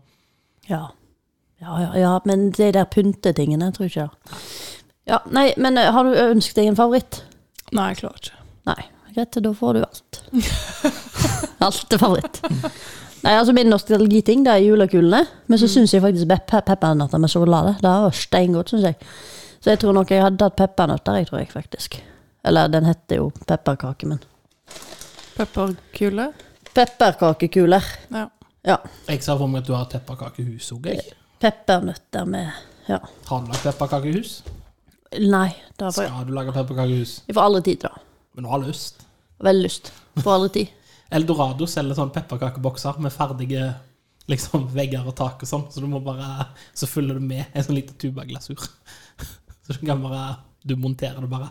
Ja. Ja, ja, ja, men de der pyntetingene, tror jeg ikke det. Ja, nei, men eh, har du ønsket deg en favoritt?
Nei, jeg klarer ikke.
Nei, greit, da får du alt. alt er favoritt. Nei, altså min nostalgiting, det er julekulene. Men så syns jeg faktisk pe- pe- peppernøtter med sjokolade. Det var steingodt, syns jeg. Så jeg tror nok jeg hadde hatt peppernøtter, jeg tror jeg faktisk. Eller den heter jo pepperkake, men
Pepperkule?
Pepperkakekuler.
Ja.
Ja.
Jeg ser for meg at du har pepperkakehus òg, jeg.
Peppernøtter med Ja.
Har du lagd pepperkakehus?
Nei, det får jeg,
Skal du lage pepperkakehus?
jeg får aldri tid til det.
Men du har lyst.
Veldig lyst. Får aldri tid.
Eldorado selger sånne pepperkakebokser med ferdige liksom, vegger og tak og sånn, så du må bare Så fyller du med en sånn liten tubaglasur. Så du kan bare Du monterer det bare.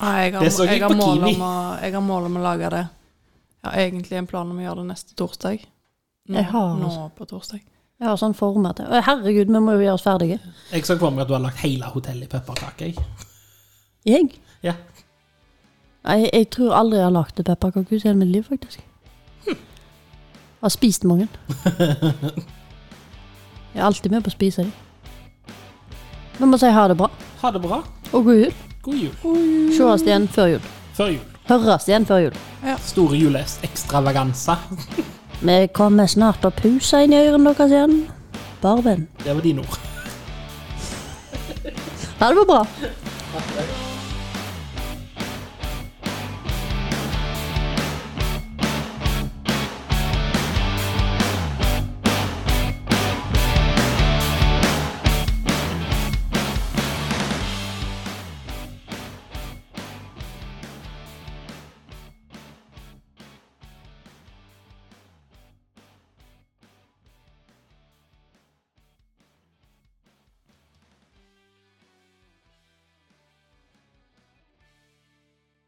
Nei, jeg har,
Det så
jeg,
ikke
har
på
mål
Kiwi.
om å, jeg har mål om å lage det. Jeg har egentlig en plan om å gjøre det neste torsdag. Nå,
Jeg har-
nå på torsdag.
Jeg har sånn former til Å, Herregud, vi må jo gjøre oss ferdige.
Jeg så for meg at du har lagt hele hotellet i pepperkake. Jeg.
Jeg?
Ja.
Jeg, jeg tror aldri jeg har lagd et pepperkakehus i hele mitt liv, faktisk. Har spist mange. Jeg er alltid med på å spise dem. Vi må si ha det bra,
Ha det bra.
og god jul.
God jul.
Sees igjen før jul.
Før jul.
Høres igjen før jul.
Store jules ekstravaganse.
Vi kommer snart og puser inn i ørene deres igjen. Bare vent.
Det var dine ord.
Ha det bra.